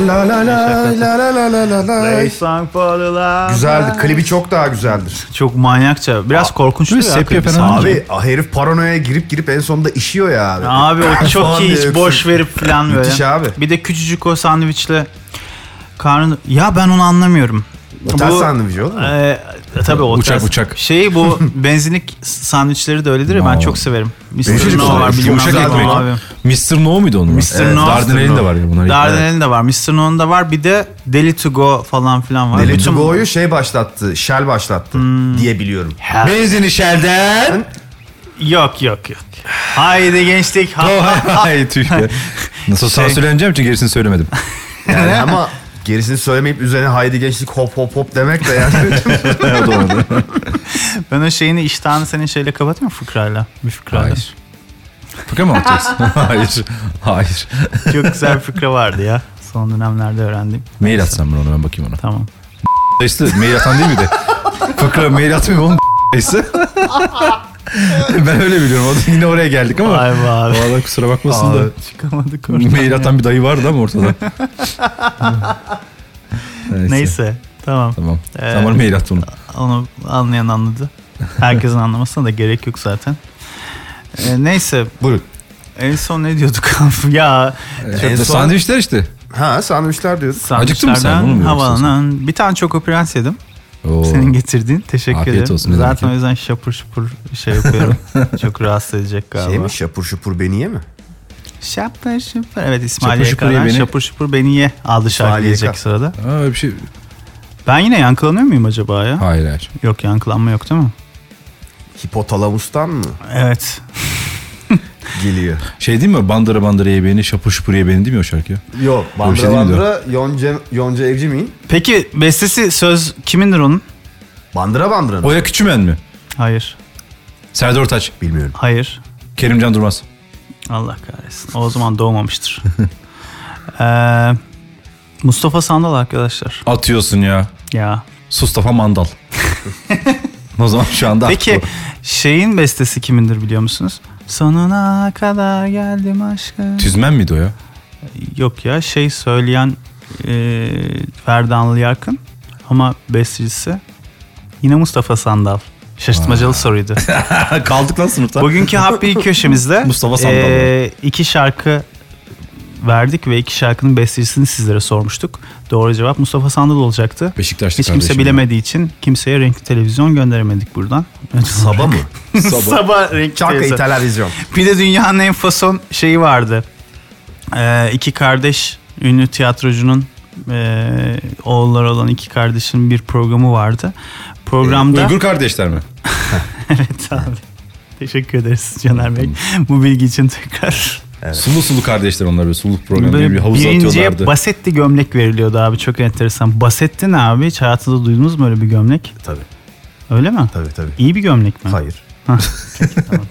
La la la la la la la la la. Güzeldi. Klibi çok daha güzeldir. Çok manyakça. Biraz korkunçtu ya. böyle sepya klibi falan sanki. Abi ah, herif paranoya girip girip en sonunda işiyor ya abi. Abi o çok Falan iyi diye hiç boş verip falan böyle. Müthiş abi. Bir de küçücük o sandviçle karnı... Ya ben onu anlamıyorum. Otel Bu- sandviçi olur mu? Ee, tabii o Uçak, tarz- uçak. Şeyi bu benzinlik sandviçleri de öyledir ya ben No. çok severim. Mr. Benzinlik No var sandviç, bilmem yumuşak ne ekmek. var abi. Mr. No muydu onun? Mr. No. Dardanel'in de var ya bunlar. Dardanel'in de var. Mr. No'nun da var. Bir de Deli to Go falan filan var. Deli Bütün- Tugo'yu şey başlattı, Shell başlattı diye biliyorum. Ha, Benzini şelden. Yok yok yok. Haydi gençlik. ha- Ay tüh be. Nasıl Şey- sansürleneceğim için gerisini söylemedim. Yani ama gerisini söylemeyip üzerine haydi gençlik hop hop hop demek de yani. ben o şeyini iştahını senin şeyle kapatıyorum fıkrayla. Bir fıkrayla. Hayır. Fıkra mı atacağız? Hayır. Hayır. Çok güzel bir fıkra vardı ya. Son dönemlerde öğrendim. Mail atsam ben ona ben bakayım ona. Tamam. Dayısı mail atan değil miydi? Fıkra mail atmıyor mu oğlum dayısı? ben öyle biliyorum. O da yine oraya geldik ama. Vay be abi. Valla kusura bakmasın da. Çıkamadık oradan. Mail atan bir dayı vardı ama ortada. Neyse. Neyse. Tamam. Tamam. Ee, Sen bana mail at onu. Onu anlayan anladı. Herkesin anlamasına da gerek yok zaten. Ee, neyse. Buyurun. En son ne diyorduk abi? ya En son- Sandviçler işte. ha sandviçler diyorduk. Acıktın mı sen? sandviçlerden Onu mu yiyorsun havalanan bir tane Choco Prens yedim. Oo. Senin getirdiğin. Teşekkür Afiyet ederim. olsun, ne demek Zaten ki? o yüzden şapur şupur şey yapıyorum. Çok rahatsız edecek galiba. Şey mi şapur şupur beni ye mi? Şapur şupur. Evet İsmail Şapur şupur ye Yakar'dan beni. şapur şupur beni ye aldı şarkı İsmail gelecek Yakar. sırada. Aa, öyle bir şey. Ben yine yankılanıyor muyum acaba ya? Hayır hayır. Yok yankılanma yok değil mi? Hipotalamustan mı Evet. geliyor? Şey değil mi? Bandıra bandıra ye beni, şapur şupur ye beni değil mi o şarkı? Yok. Öyle bir şey Bandıra değil miydi o? bandıra Yonca, Yonca Evci miyim? Peki bestesi söz kimindir onun? Bandıra bandıra mı? Oya Küçümen mi? Hayır. Serdar Ortaç, Bilmiyorum. Hayır. Kerimcan Durmaz. Allah kahretsin. O zaman doğmamıştır. Ee, Mustafa Sandal arkadaşlar. Atıyorsun ya. Ya. Mustafa Mandal. o zaman şu anda Peki haklı. şeyin bestesi kimindir biliyor musunuz? Sonuna kadar geldim aşkım. Tüzmen miydi o ya? Yok ya şey söyleyen e, Ferdanlı Yarkın ama bestecisi yine Mustafa Sandal. Şaşırtmacalı soruydu. Kaldık lan sınıfta. Bugünkü Happy köşemizde Mustafa Sandal e, iki şarkı verdik ve iki şarkının bestecisini sizlere sormuştuk. Doğru cevap Mustafa Sandal olacaktı. Beşiktaşlı Hiç kimse kardeşim E, bilemediği için kimseye renkli televizyon gönderemedik buradan. Sabah mı? Sabah, renkli Çankayı televizyon. televizyon. Bir de dünyanın en fason şeyi vardı. Ee, iki kardeş ünlü tiyatrocunun e, oğulları olan iki kardeşin bir programı vardı. Programda Uygur kardeşler mi? evet abi. Teşekkür ederiz Caner Bey. Bu bilgi için tekrar. Sulu sulu kardeşler onlar böyle suluk programı Böyle bir havuza atıyorlardı. birinciye basetti gömlek veriliyordu abi çok enteresan. Basetti ne abi? Hiç hayatınızda duydunuz mu öyle bir gömlek? Tabii. Öyle mi? Tabii tabii. İyi bir gömlek mi? Hayır. Tamam,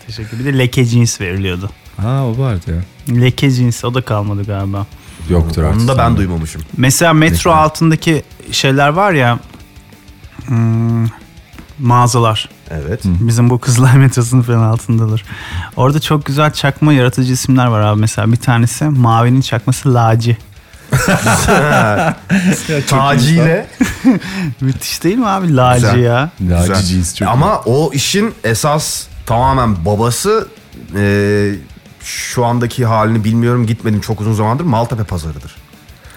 teşekkür. Bir de leke jeans veriliyordu. ha o vardı ya. Leke jeans o da kalmadı galiba. Yoktur artık. Onu da ben sanırım. duymamışım. Mesela metro altındaki şeyler var ya hmm, mağazalar. Evet. Bizim bu Kızılay metrosunun falan altındadır. Orada çok güzel çakma yaratıcı isimler var abi. Mesela bir tanesi Mavi'nin çakması Laci. Taciyle. Müthiş değil mi abi Laci Güzel. ya? Ya, Güzel. ciciyiz çok. Ama o işin esas tamamen babası e, şu andaki halini bilmiyorum gitmedim çok uzun zamandır Maltepe pazarıdır.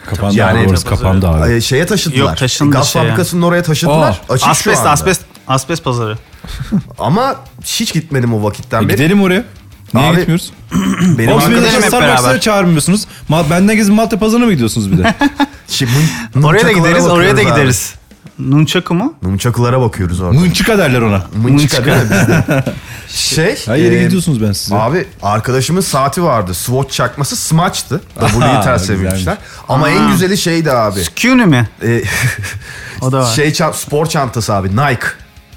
Kapandı Yani- abi orası kapandı abi. E, şeye taşıdılar. Yok, taşındı Gaz şeye. Oh, fabrikasının oraya taşıdılar. Aa, Açık şu Asbest anda. asbest asbest pazarı. Ama hiç gitmedim o vakitten E, beri. gidelim oraya. Niye Abi, gitmiyoruz? Benim Oğlum gidelim beni hep beraber. Starbucks'a çağırmıyorsunuz. Ma benden gezin Malta pazarına mı gidiyorsunuz bir de? Şimdi nun- Oraya da nunçakılara gideriz oraya da Şey, bakıyoruz abi. gideriz. Nunchaku mu? Nunçakılara bakıyoruz orada. Mınçıka derler ona. Mınçıka değil mi bizde? Şey. Her Ee, yere e, gidiyorsunuz ben size. Abi arkadaşımın saati vardı. Swatch çakması Smaç'tı. W'yi ters çevirmişler. Ama en güzeli şeydi abi. Kuni mi? E, O da var. Şey ça- spor çantası abi Nike.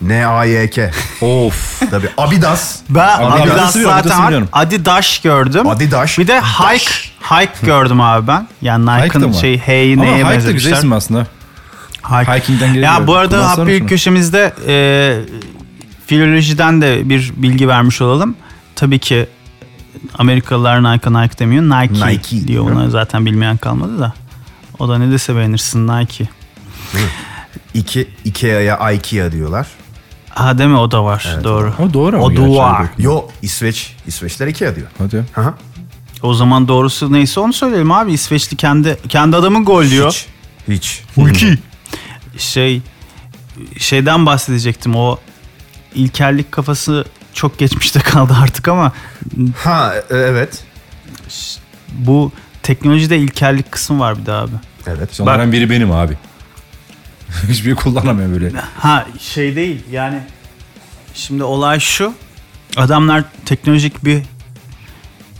N-A-Y-K. Of. Tabii Adidas. Ben Adidas'ı Adidas biliyorum, Adidas'ı zaten biliyorum. Adidas gördüm. Adidas. Bir de Hike Hike gördüm abi ben. Yani Hike de Nike'ın mi? şey hey Ama neye Hike de güzel benzetmişler. isim aslında. Hike. Hiking'den geri Ya geldim. bu arada Kullanırlar Happy mısın? köşemizde e, filolojiden de bir bilgi vermiş olalım. Tabii ki Amerikalılar Nike Nike demiyor. Nike, Nike. diyor ona zaten bilmeyen kalmadı da. O da ne dese beğenirsin Nike. İki, Ikea'ya Ikea diyorlar. Ha deme o da var. doğru. O doğru ama O gerçi duvar. öyle Yo İsveç. İsveçler Ikea diyor. Hadi. Hı hı. O zaman doğrusu neyse onu söyleyelim abi. İsveçli kendi kendi adamın gol diyor. Hiç. Hiç. Hulki. Şey şeyden bahsedecektim. O ilkellik kafası çok geçmişte kaldı artık ama Ha e- evet. bu teknolojide ilkellik kısmı var bir daha abi. Evet. Sonlardan biri benim abi. Hiçbiri kullanamıyor böyle. Ha şey değil yani şimdi olay şu adamlar teknolojik bir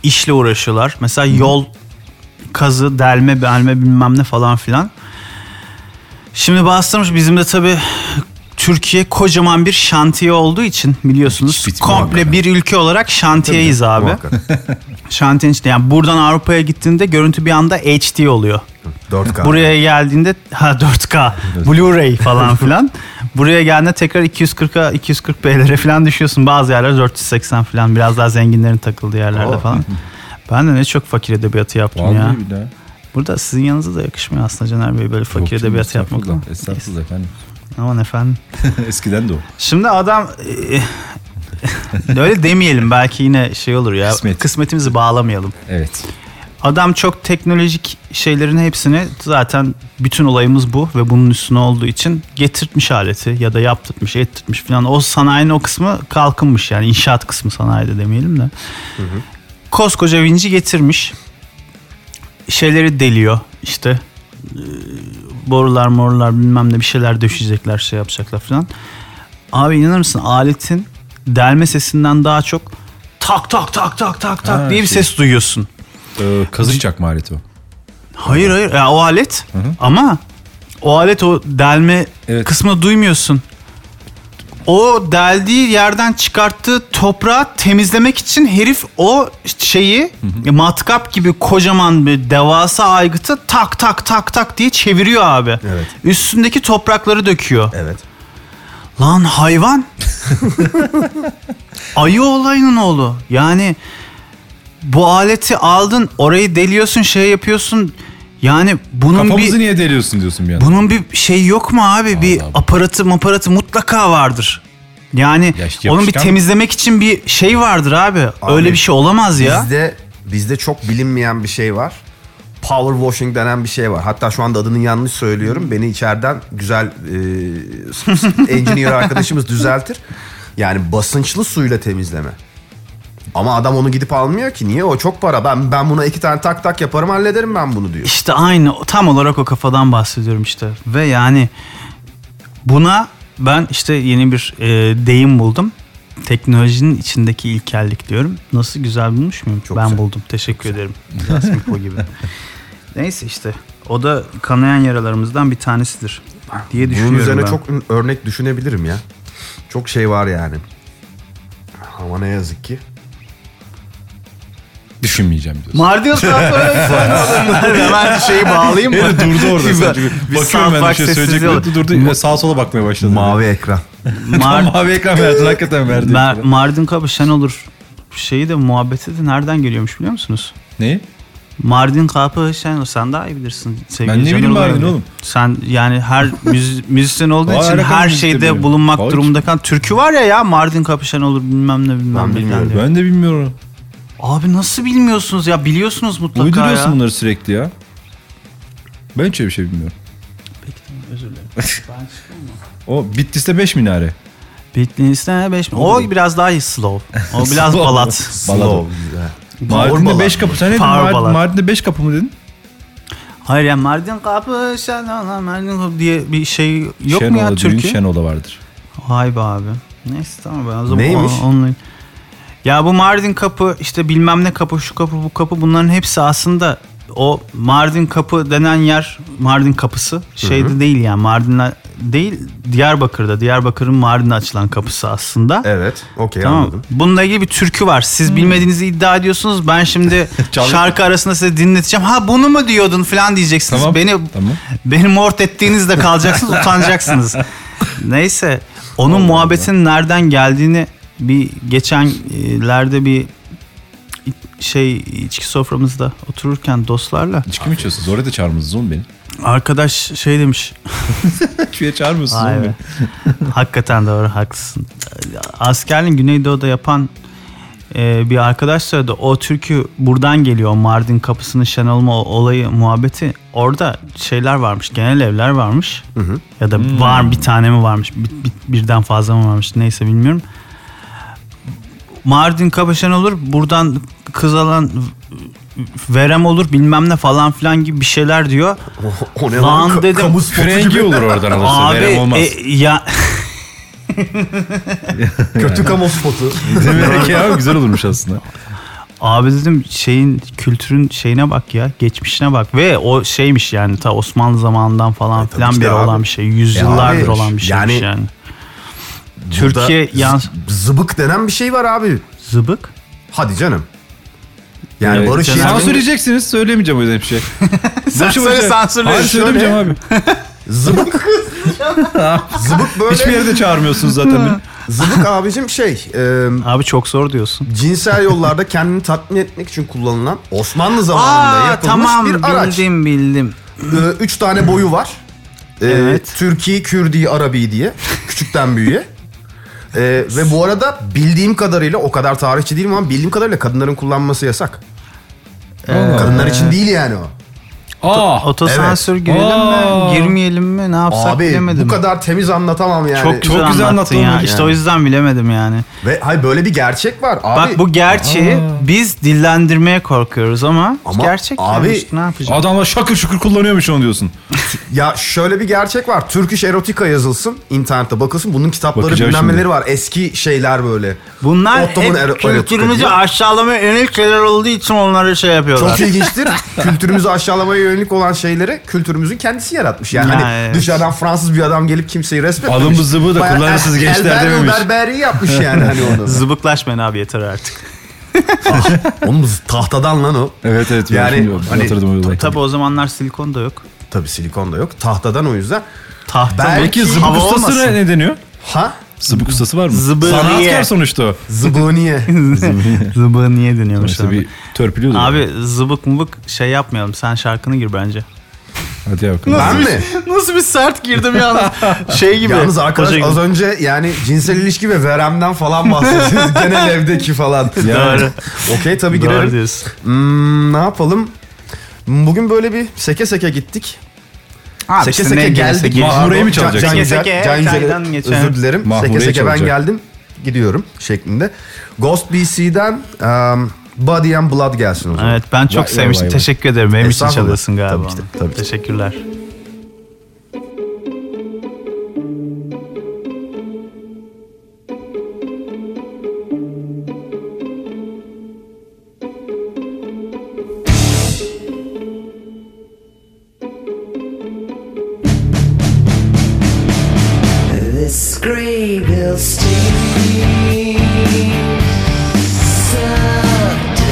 işle uğraşıyorlar. Mesela yol kazı, delme, belme bilmem ne falan filan. Şimdi bastırmış bizim de tabii Türkiye kocaman bir şantiye olduğu için biliyorsunuz Hiç bitmiyor komple abi. bir ülke olarak şantiyeyiz abi. Şantiyenin içinde yani buradan Avrupa'ya gittiğinde görüntü bir anda HD oluyor. 4K. Buraya geldiğinde ha 4K, Blu-ray falan filan. Buraya geldiğinde tekrar 240'a 240p'lere falan düşüyorsun. Bazı yerler 480 falan biraz daha zenginlerin takıldığı yerlerde Oo. falan. Ben de ne çok fakir edebiyatı yaptım ya. Vallahi bir daha. Burada sizin yanınıza da yakışmıyor aslında Caner Bey böyle fakir Yok canım, edebiyatı yapmak. estağfurullah, Estağfurullah efendim. Aman efendim. Eskiden de o. Şimdi adam e, öyle demeyelim belki yine şey olur ya. Kısmet. Kısmetimizi bağlamayalım. Evet. Adam çok teknolojik şeylerin hepsini zaten bütün olayımız bu ve bunun üstüne olduğu için getirtmiş aleti ya da yaptırtmış, ettirtmiş falan. O sanayinin o kısmı kalkınmış yani inşaat kısmı sanayide demeyelim de. Koskoca vinci getirmiş. Şeyleri deliyor işte. Ee, Borular morular bilmem ne bir şeyler döşecekler şey yapacaklar falan. Abi inanır mısın aletin delme sesinden daha çok tak tak tak tak tak tak Ha, diye bir şey. ses duyuyorsun. Ee, kazık çakma aleti o. Hayır hayır ya o alet ama o alet o delme Evet. kısmını duymuyorsun. O deldiği yerden çıkarttığı toprağı temizlemek için herif o şeyi matkap gibi kocaman bir devasa aygıtı tak tak tak tak diye çeviriyor abi. Evet. Üstündeki toprakları döküyor. Evet. Lan hayvan. Ayı olayının oğlu. Yani bu aleti aldın, orayı deliyorsun, şey yapıyorsun. Yani bunun Kafamızı bir niye deliyorsun diyorsun bir yandan. bunun bir şey yok mu abi? bir abi. aparatı, aparatı mutlaka vardır. Yani Yaş- onun bir yapışkan- temizlemek için bir şey vardır abi. Öyle bir şey olamaz ya. Bizde bizde çok bilinmeyen bir şey var. Power washing denen bir şey var. Hatta şu anda adını yanlış söylüyorum. Beni içeriden güzel e, s- s- engineer arkadaşımız düzeltir. Yani basınçlı suyla temizleme. Ama adam onu gidip almıyor ki. Niye? O çok para. Ben ben buna iki tane tak tak yaparım hallederim ben bunu diyor. İşte aynı tam olarak o kafadan bahsediyorum işte. Ve yani buna ben işte yeni bir e, deyim buldum. Teknolojinin içindeki ilkellik diyorum. Nasıl güzel bulmuş muyum? ben güzel. buldum. Teşekkür ederim. Biraz Miko gibi. Neyse işte o da kanayan yaralarımızdan bir tanesidir diye düşünüyorum Bunun üzerine ben. çok ün- örnek düşünebilirim ya. Çok şey var yani. Ama ne yazık ki. Düşünmeyeceğim diyorsun. Mardin Hemen şeyi bağlayayım mı? Herif durdu orada. Bir- sanki. bir Bakıyorum ben bir sanfak şey sessizliği söyleyecek. oldu. Durdu, durdu. Yine sağa sola bakmaya başladı. Mavi ekran. Mar- Mavi ekran verdin. Hakikaten verdin. Mer- Mardin Kapı şen olur şeyi de muhabbeti de nereden geliyormuş biliyor musunuz? Neyi? Mardin Kapı şen sen daha iyi bilirsin sevgili Ben ne Cemil bileyim Ulan Mardin Bey. oğlum? Sen yani her müz- müzisyen olduğun Vay için alakalı her müzikle şeyde benim. bulunmak Vay durumunda kalan türkü var ya ya Mardin Kapı şen olur bilmem ne bilmem Ben ne. bilmiyorum. diye. Ben de bilmiyorum. Abi nasıl bilmiyorsunuz ya biliyorsunuz mutlaka Uyduruyorsun ya. bunları sürekli ya. Ben hiç öyle bir şey bilmiyorum. O Bitlis'te 5 minare. Bitlis'te 5 O biraz daha iyi slow. O biraz Slow. balat. Balad o. Mardin'de 5 kapı. Sen ne dedin? Power Mardin- ballad. Mardin'de 5 kapı mı dedin? Hayır ya Mardin Kapı şen olur Mardin Kapı diye bir şey yok mu ya Şenola düğün türkü? Şenola vardır. Vay be abi. Neyse tamam ben o zaman Neymiş? on- onunla- Ya bu Mardin kapı işte bilmem ne kapı şu kapı bu kapı bunların hepsi aslında o Mardin kapı denen yer Mardin kapısı şeyde değil yani Mardin'le değil Diyarbakır'da Diyarbakır'ın Mardin'e açılan kapısı aslında. Evet. Okey Tamam. anladım. Bununla ilgili bir türkü var. Siz bilmediğinizi iddia ediyorsunuz. Ben şimdi Çaldık. şarkı arasında size dinleteceğim. Ha bunu mu diyordun falan diyeceksiniz. Tamam, Beni tamam. beni mort ettiğinizde kalacaksınız, utanacaksınız. Neyse, onun muhabbetin nereden geldiğini bir geçenlerde bir şey içki soframızda otururken dostlarla İçki mi içiyorsunuz? Oraya da çağırmadınız oğlum beni. Arkadaş şey demiş. Küye çağırmıyorsunuz Vay oğlum be. beni. Hakikaten doğru haklısın. Askerliğin Güneydoğu'da yapan e, bir arkadaş söyledi. O türkü buradan geliyor. Mardin kapısının şen olma olayı muhabbeti. Orada şeyler varmış. Genel evler varmış. Ya da var bir tane mi varmış? bir- bir- birden fazla mı varmış? Neyse bilmiyorum. Mardin Kapaşan olur buradan kız alan verem olur bilmem ne falan filan gibi bir şeyler diyor. O, o ne Lan Ka- dedim. kamu spotu Frengi gibi. olur oradan olursa. Abi Verem olmaz. e, ya Kötü kamu spotu. Demek ya güzel olurmuş aslında. Abi dedim şeyin kültürün şeyine bak ya geçmişine bak ve o şeymiş yani ta Osmanlı zamanından falan tabii filan ki de beri abi. olan bir şey yüzyıllardır abi, olan bir şeymiş yani. yani- Türkiye Burada yan z- zıbık denen bir şey var abi. zıbık. Hadi canım. Yani Evet, Barış Sen Yeğen'in söyleyeceksiniz söyleyemeyeceğim o yüzden bir şey. Sen söyle, sansürle. Hayır söylemeyeceğim abi. zıbık. zıbık böyle. Hiçbir yerde çağırmıyorsunuz zaten beni. Zıbık abicim şey. e, Abi çok zor diyorsun. cinsel yollarda kendini tatmin etmek için kullanılan Osmanlı zamanında yapılmış tamam bir araç. bildim bildim. Ee, üç tane boyu var. Ee, Evet. Türkiye, Kürdi, Arabi diye. Küçükten büyüğe. Ee, ve bu arada bildiğim kadarıyla o kadar tarihçi değilim ama bildiğim kadarıyla kadınların kullanması yasak. Kadınlar için değil yani o. Aa. Otosansür Evet. Ah, girelim Aa. mi girmeyelim mi ne yapsak Abi bilemedim. bu kadar temiz anlatamam yani. çok güzel, Çok güzel anlattın anlattın ya. oğlum İşte yani. o yüzden bilemedim yani. Ve hay böyle bir gerçek var. Abi, Bak bu gerçeği biz dillendirmeye korkuyoruz ama, Ama gerçek abi- yani, işte ne yapacağız? Adamlar şakır şukur kullanıyormuş onu diyorsun. Ya şöyle bir gerçek var. Turkish erotika yazılsın. internette bakılsın. Bunun kitapları Bakacağım bilmem neleri şimdi. var. Eski şeyler böyle. Bunlar Ottoman ero- hep erotika kültürümüzü diye. aşağılamaya yönelik şeyler olduğu için onları şey yapıyorlar. Çok ilginçtir. Kültürümüzü aşağılamaya yönelik olan şeyleri kültürümüzün kendisi yaratmış. Yani Ya hani evet. dışarıdan Fransız bir adam gelip kimseyi resmetmemiş. Alın bu zıbığı da Bayağı kullanırsınız el- gençler elber- dememiş. Berberi yapmış yani hani onu. Zıbıklaşmayın abi yeter artık. Onun z- tahtadan lan o. Evet evet. Yani Yani hani- hatırladım o olayı. Tabii o zamanlar silikon da yok. Tabii silikon da yok. Tahtadan o yüzden. Tahta Belki belki Peki zıbık hava ustası olmasın. ne, ne deniyor? Ha? Zıbık ustası var mı? Zıbığı Zanaatkar ye. sonuçta o. Zıbığı niye? Zıbığı niye dönüyormuş İşte abi? bir törpülüyordu. Abi zıbık mıbık şey yapmayalım. Sen şarkını gir bence. Hadi ya bakalım. ben mi? Nasıl bir sert girdim yalnız. Şey gibi. Yalnız arkadaş Hoca gibi. az önce yani cinsel ilişki ve veremden falan bahsediyoruz. Genel evdeki falan. Doğru. Okey tabii Doğru girelim. diyorsun. Hmm, ne yapalım? Bugün böyle bir seke seke gittik. Abi seke işte ne seke gelirse geldik. gelsin. Mahmure'yi mi Can- çalacaksın? Can Yücel- Seke seke, Can Yücel'e çaydan geçen. özür dilerim. Mahmure'yi seke seke ben çalacak. geldim gidiyorum şeklinde. Ghost BC'den um, Body and Blood gelsin o zaman. Evet ben çok Vay, vay, sevmiştim. vay, vay. Teşekkür ederim. Benim için Estağfurullah. çalıyorsun galiba. Tabii ki de, onu. tabii ki de. Teşekkürler. This grave will sting Subdeath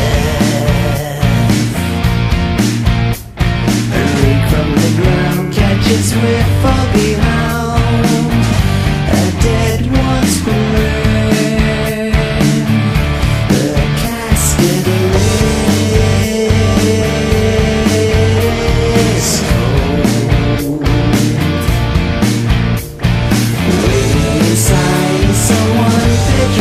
A leak from the ground catches with foggy hound A dead one's grin The casket is cold Inside, inside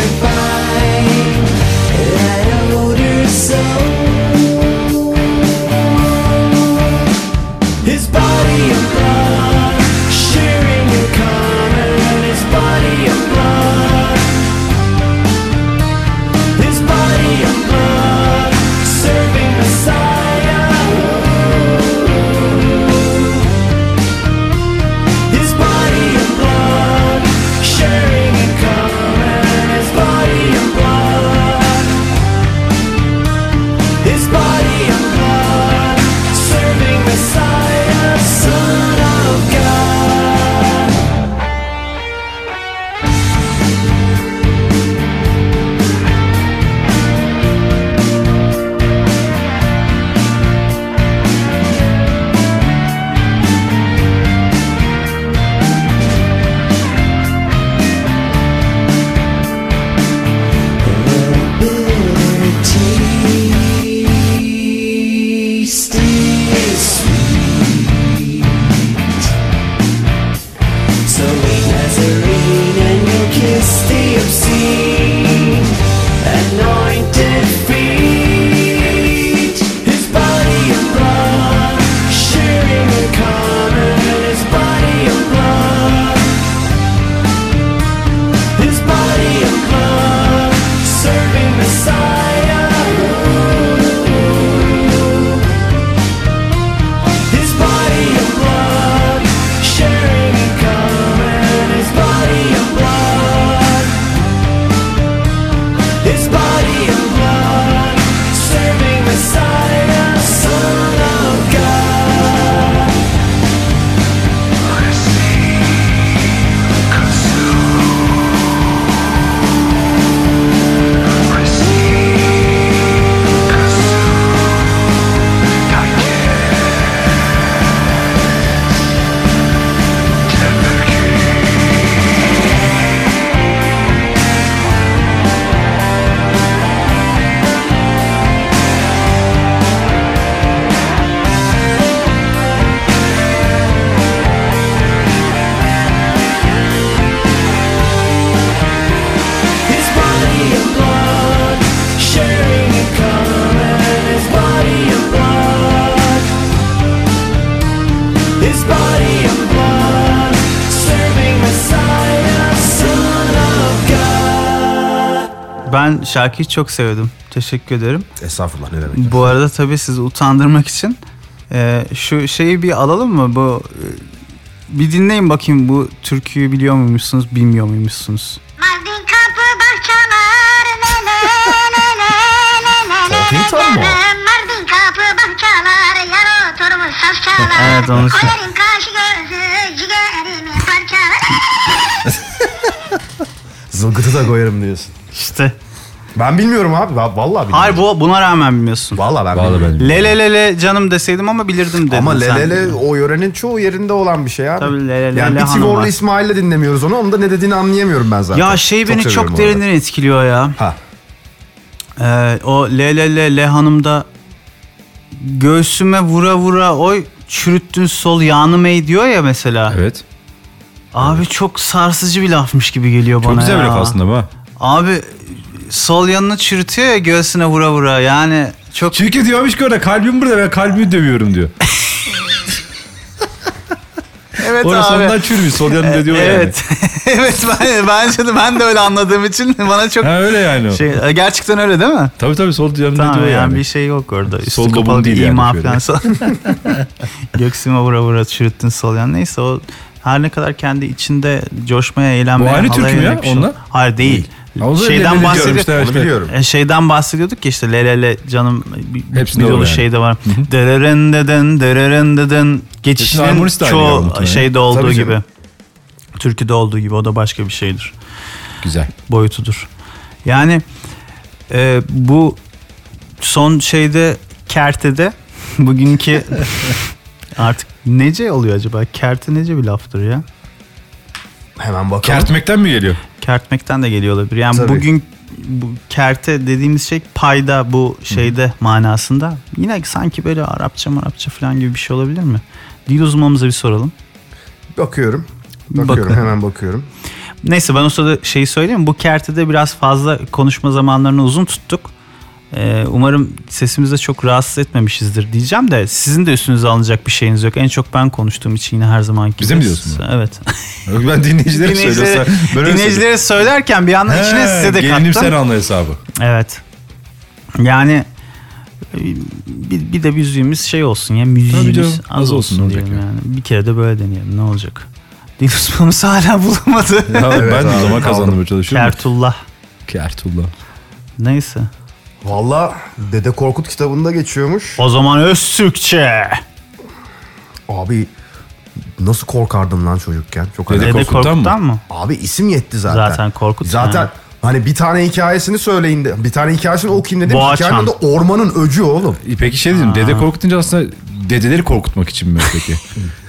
Ben şarkıyı çok sevdim. Teşekkür ederim. Estağfurullah ne demek. Bu arada tabii sizi utandırmak için e, şu şeyi bir alalım mı? Bu e, bir dinleyin bakayım bu türküyü biliyor muymuşsunuz, bilmiyor muymuşsunuz? Mardin kapı bahçeler ne ne ne ne ne ne ne Fatih Tan mı o? Mardin kapı bahçeler yar oturmuş safçalar Evet, onu söyle. Koyarım kaşı gözü ciğerimi parçalar Zılgıtı da koyarım diyorsun. İşte. Ben bilmiyorum abi. va- Vallahi bilmiyorum. Hayır bu buna rağmen bilmiyorsun. Vallahi ben Vallahi bilmiyorum. ben. Lele lele canım deseydim ama bilirdim dedim. Ama sen. lelele o yörenin çoğu yerinde olan bir şey abi. Tabii lelele Yani hanım bir var. Tivorlu İsmail'le dinlemiyoruz onu. Onun da ne dediğini anlayamıyorum ben zaten. Ya şey beni çok, seviyorum bu arada. derinden etkiliyor ya. Ha. Ee, o le le le le hanımda göğsüme vura vura oy çürüttün sol yanım ey diyor ya mesela. Evet. Abi çok sarsıcı bir lafmış gibi geliyor Çok bana güzel ya. bir laf aslında bu. ha. Abi sol yanını çürütüyor ya göğsüne vura vura yani çok Çünkü diyormuş ki orada kalbim burada ben kalbimi dövüyorum diyor. evet Orası ondan çürümüş. Sol yanında diyor evet. evet ben, bence de ben de öyle anladığım için bana çok yani. Ha öyle yani. o. şey gerçekten öyle değil mi? Tabii tabii sol yanında Tamam diyor yani. yani. bir şey yok orada. Üstü Sol lobum kapalı bir değil yani ima şöyle. falan. Göksüme vura vura çürüttün sol yan. Neyse o her ne kadar kendi içinde coşmaya, eğlenmeye, aynı halaya türkü mü ya yönelik bir şey onlar? yok. Hayır değil. Ha, o da Şeyden lelele diyorum bahsediyor. işte, Onu biliyorum. E, şeyden bahsediyorduk ya işte lelele canım bir, Hepsinde bir var dolu yani. şey de var. Dereren deden dereren deden geçişlerin harmonist de aynı ya çoğu muhtemelen. şeyde olduğu Tabii gibi. canım. Türküde olduğu gibi o da başka bir şeydir Güzel. boyutudur. Yani e, bu son şeyde kertede bugünkü artık nece oluyor acaba? Kerte nece bir laftır ya? Hemen bakalım. Kertmekten mi geliyor? Kertmekten de geliyor olabilir. Yani Tabii. bugün bu kerte dediğimiz şey payda bu şeyde manasında. Yine sanki böyle Arapça Arapça falan gibi bir şey olabilir mi? Dil uzmanımıza bir soralım. Bakıyorum. Bakıyorum Bakın. hemen bakıyorum. Neyse ben o sırada şeyi söyleyeyim. Bu kertede biraz fazla konuşma zamanlarını uzun tuttuk. Ee, umarım sesimizde çok rahatsız etmemişizdir diyeceğim de sizin de üstünüze alınacak bir şeyiniz yok. En çok ben konuştuğum için yine her zamanki. Bize mi diyorsun Evet. Ben dinleyicilere Dinleyicilere, şey söylüyorsa. ben öyle söylüyorum. dinleyicilere söylerken bir yandan içine He, size de Gelinim kattım. sen anla hesabı. Evet. Yani e, bir, bir de müziğimiz şey olsun ya müziğimiz canım, az, az olsun, olsun, ne diyelim olacak yani. Bir kere de böyle deneyelim ne olacak. Dil uzmanımız hala bulamadı. Ya ben de o abi, zaman kazandım kaldım. çalışıyorum. Kertullah. Kertullah. Neyse. Valla Dede Korkut kitabında geçiyormuş. O zaman Öztürkçe. Abi nasıl korkardım lan çocukken? Çok Dede acayip. Dede Korkut'tan Korkut'tan mı? Abi isim yetti zaten. Zaten Korkut Zaten yani. hani bir tane hikayesini söyleyin de, bir tane hikayesini okuyayım dedim. Boğaçan. Hikayenin de ormanın öcü oğlum. E Peki şey dedim. Dede korkutunca aslında dedeleri korkutmak için mi peki?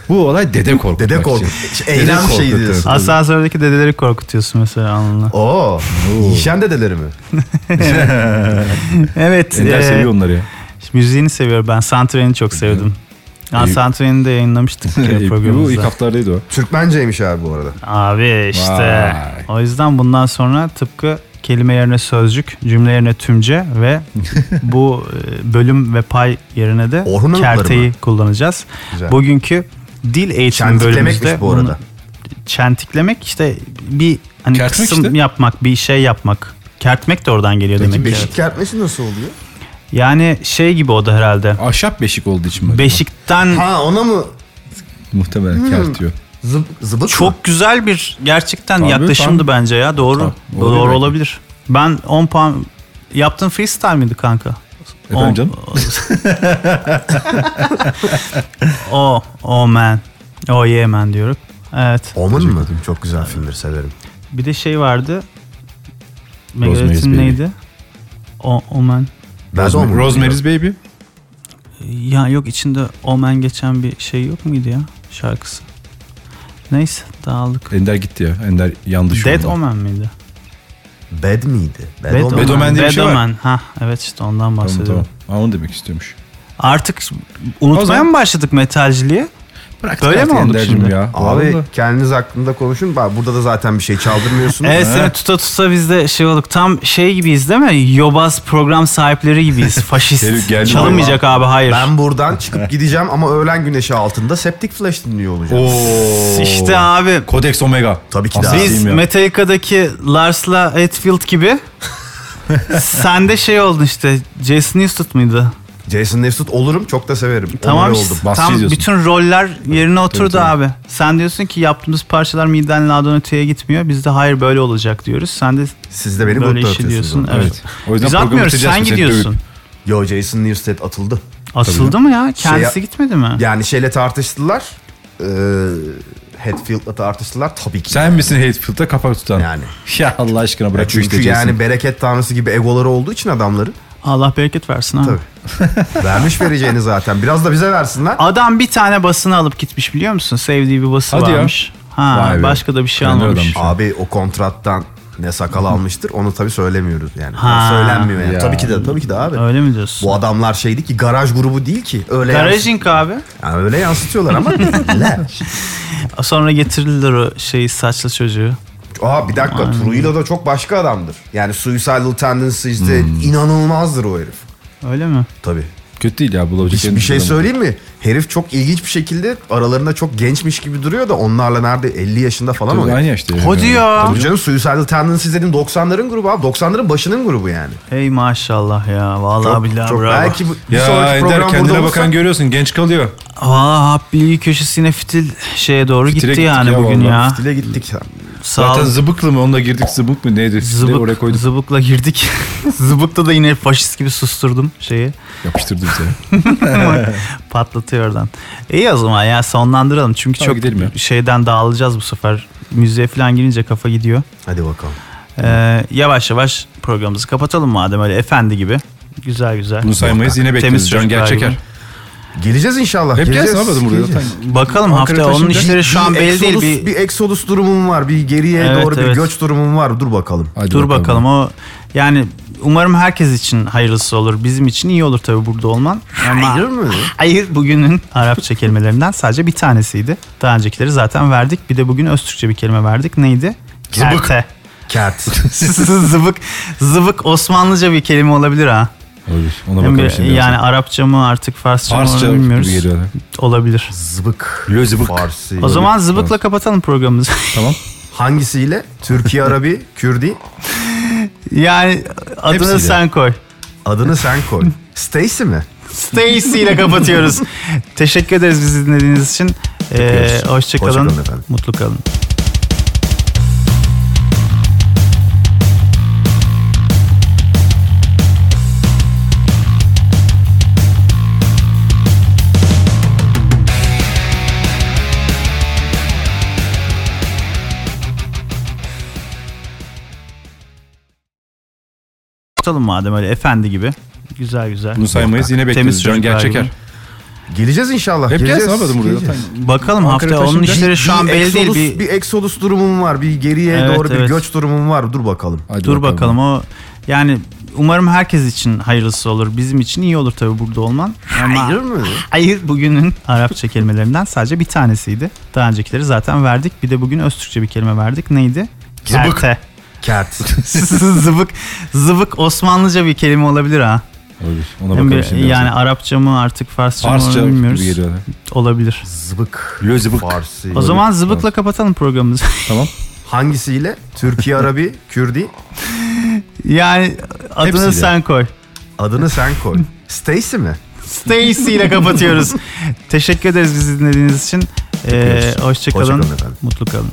Bu olay dede korkutmak Dede için. Korkut. Dede Eylem Korkut, şeyi evet. diyorsun. Asansördeki dedeleri korkutuyorsun mesela anla. Oo. Yişen dedeleri mi? Evet. Ender e, seviyor onları ya. müziğini seviyorum ben. Santreni çok sevdim. Ya Santreni'ni de yayınlamıştık e, Bu ilk programımızda. haftalardaydı o. Türkmenceymiş abi bu arada. Abi işte. Vay. O yüzden bundan sonra tıpkı kelime yerine sözcük, cümle yerine tümce ve bu e, bölüm ve pay yerine de Orhun Hanımları kerteyi mı? kullanacağız. Güzel. Bugünkü dil eğitimi Çentiklemekmiş bölümümüzde bu arada. çentiklemek işte bir hani Kertmek kısım işte. yapmak, bir şey yapmak. Kertmek de oradan geliyor Peki demek ki. beşik kertmesi nasıl oluyor? Yani şey gibi o da herhalde. Ahşap beşik olduğu için mi? Beşikten Ha ona mı Muhtemelen kert diyor. zıp, zıbıt mı? çok güzel bir gerçekten Tabii, yaklaşımdı tam- bence ya. Doğru. Tam, olabilir Doğru belki. olabilir. Ben 10 puan yaptığın freestyle miydi kanka? Efendim canım? O, o man. O yeah man diyorum. Evet. Omen mı? Çok güzel filmdir severim. Bir de şey vardı. Rosemary's Megadeth'in Baby. neydi? O, Omen. Ben de Omen'ı Rosemary's Baby. Ya yok içinde Omen geçen bir şey yok muydu ya şarkısı? Neyse dağıldık. Ender gitti ya. Ender yandı şu Dead anda. Omen miydi? biliyorum. Bad miydi? Bad, Dead Omen. Bad Omen diye bir şey var. Ha evet işte ondan Tamam bahsediyorum. tamam. Ha, onu demek istiyormuş. Artık O unutmaya zaman- mı başladık metalciliği? Bırak Böyle kart mi olduk Ender'cim şimdi? Ya. Abi Vallahi. kendiniz hakkında konuşun. Bak burada da zaten bir şey çaldırmıyorsunuz. Evet seni tuta tuta biz de şey olduk. Tam şey gibiyiz değil mi? Yobaz program sahipleri gibiyiz. Herif Faşist. geldi Çalınmayacak abi hayır. Ben buradan çıkıp gideceğim ama öğlen güneşi altında Septic Flash dinliyor olacağım. Oo. İşte abi. Codex Omega. Tabii ki de. Asasiyim Biz ya. Metallica'daki Lars'la Hetfield gibi Sen de şey oldun işte. Jason Newsted mıydı? Jason Newsted olurum çok da severim. Tamam Onları işte, oldum. Basri tam şey diyorsun. bütün roller yerine oturdu abi. Sen diyorsun ki yaptığımız parçalar midenle adon öteye gitmiyor. Biz de hayır böyle olacak diyoruz. Sen de Siz de beni böyle mutlu işi atıyorsunuz. diyorsun. orada. Evet. Evet. O yüzden Biz programı atmıyoruz bitireceğiz sen mi seni gidiyorsun. Yo Jason Newsted atıldı. Asıldı mı ya? Kendisi Şey- gitmedi mi? Yani şeyle tartıştılar. E, Hatfield'la tartıştılar tabii ki. Sen misin Hatefield'a kapak tutan? Yani. Ya Allah aşkına Ya bırak şu çünkü işte Jason. yani bereket tanrısı gibi egoları olduğu için adamların Allah bereket versin abi. Tabii. vermiş vereceğini zaten. Biraz da bize versinler. Adam bir tane basını alıp gitmiş biliyor musun? Sevdiği bir bası Hadi ya. varmış. Ha, Vay be. başka da bir şey Kendi almamış. adammış. Abi o kontrattan ne sakal almıştır onu tabii söylemiyoruz yani. Ha. Söylenmiyor yani. Ya. Tabii ki de tabii ki de abi. Öyle mi diyorsun? Bu adamlar şeydi ki garaj grubu değil ki. Öyle yansı- Garajink abi. yani öyle yansıtıyorlar ama bizler. Sonra getirirler o şeyi saçlı çocuğu. Aa bir dakika Trujillo da çok başka adamdır. Yani Suicidal Tendencies'de inanılmazdır o herif. Öyle mi? Tabii. Kötü değil ya Bir, bulabilecek. bir şey söyleyeyim mi? Herif çok ilginç bir şekilde aralarında çok gençmiş gibi duruyor da onlarla nerede 50 yaşında falan Tabii oluyor. aynı yaşta. herif Hadi yani. ya. Tabii canım Suicidal Tendency'lerin 90'ların grubu abi. 90'ların başının grubu yani. Hey maşallah ya. Vallahi billahi bravo. belki bu, bir Ya sonraki Ender program kendine burada bakan olursa görüyorsun genç kalıyor. Valla hapliği köşesine fitil şeye doğru Fitile gitti gittik yani ya bugün vallahi. ya. dile gittik. Sağ ol. Zaten zıbıklı mı onunla girdik zıbık mı neydi? Zıbık. Zıbık- oraya koyduk zıbıkla girdik. Zıbıkta da yine faşist gibi susturdum şeyi. yapıştırdı bize. Patlatıyor oradan. İyi o zaman ya sonlandıralım. Çünkü Tamam, çok gidelim ya. şeyden dağılacağız bu sefer. Müziğe falan girince kafa gidiyor. Hadi bakalım. Ee, yavaş yavaş programımızı kapatalım madem öyle efendi gibi. Güzel güzel. Bunu saymayız yine Temiz bekleriz. Can çocuklar gerçeker. gibi. Geleceğiz inşallah. Hep geleceğiz. gelsin abi buraya. Geleceğiz. Zaten Bakalım Ankara hafta onun taşınacak. işleri şu an Bir belli değil. exodus- Bir, bir exodus durumum var. Bir geriye Evet, doğru evet. bir göç durumum var. Dur bakalım. Hadi dur bakalım. o yani umarım herkes için hayırlısı olur. Bizim için iyi olur tabii burada olman. Ama- Hayır mı? Hayır bugünün Arapça kelimelerinden sadece bir tanesiydi. Daha öncekileri zaten verdik. Bir de bugün Öztürkçe bir kelime verdik. Neydi? Zıbık. Kerte. Kert. zıvık. Zıvık Osmanlıca bir kelime olabilir ha. Olabilir. Ona Hem bakalım bir- şimdi. yani Arapça mı artık Farsça, Farsça mı onu bilmiyoruz. gibi geliyor. Olabilir. Zıbık. Le zıbık. Farsi. O zaman zıbıkla kapatalım programımızı. Tamam. Hangisiyle? Türkiye Arabi, Kürdi. yani adını Hepsiyle. sen koy. Adını sen koy. Stacy mi? Stacy ile kapatıyoruz. Teşekkür ederiz bizi dinlediğiniz için. Ee, Öpüyoruz. hoşça Hoşça kalın. kalın efendim. Mutlu kalın. Tutalım madem öyle efendi gibi. Güzel güzel. Bunu saymayız yine bekleriz. Temiz Can çocuklar gerçeker. gibi. Geleceğiz inşallah. Hep geleceğiz. gelsin abi buraya. Geleceğiz. Zaten Bakalım Ankara hafta onun taşınacak. işleri şu an bir belli exodus, değil. Bir, bir exodus durumum var. Bir geriye Evet, doğru evet. bir göç durumum var. Dur bakalım. Hadi dur bakalım. o yani umarım herkes için hayırlısı olur. Bizim için iyi olur tabii burada olman. Ama Hayır mı? hayır bugünün Arapça kelimelerinden sadece bir tanesiydi. Daha öncekileri zaten verdik. Bir de bugün Öztürkçe bir kelime verdik. Neydi? Zıbık. Kerte. Kert. zıvık. Zıvık Osmanlıca bir kelime olabilir ha. Olabilir. Ona Hem bakalım bir- şimdi. yani Arapça mı artık Farsça, Farsça mı gibi bilmiyoruz. geliyor. Olabilir. Zıbık. Le zıbık. Farsi. O zaman zıbıkla Tamam. kapatalım programımızı. Tamam. Hangisiyle? Türkiye Arabi, Kürdi. yani adını Hepsiyle. sen koy. Adını sen koy. Stacy mi? Stacy ile kapatıyoruz. Teşekkür ederiz bizi dinlediğiniz için. Ee, hoşça Hoşça kalın. kalın efendim. Mutlu kalın.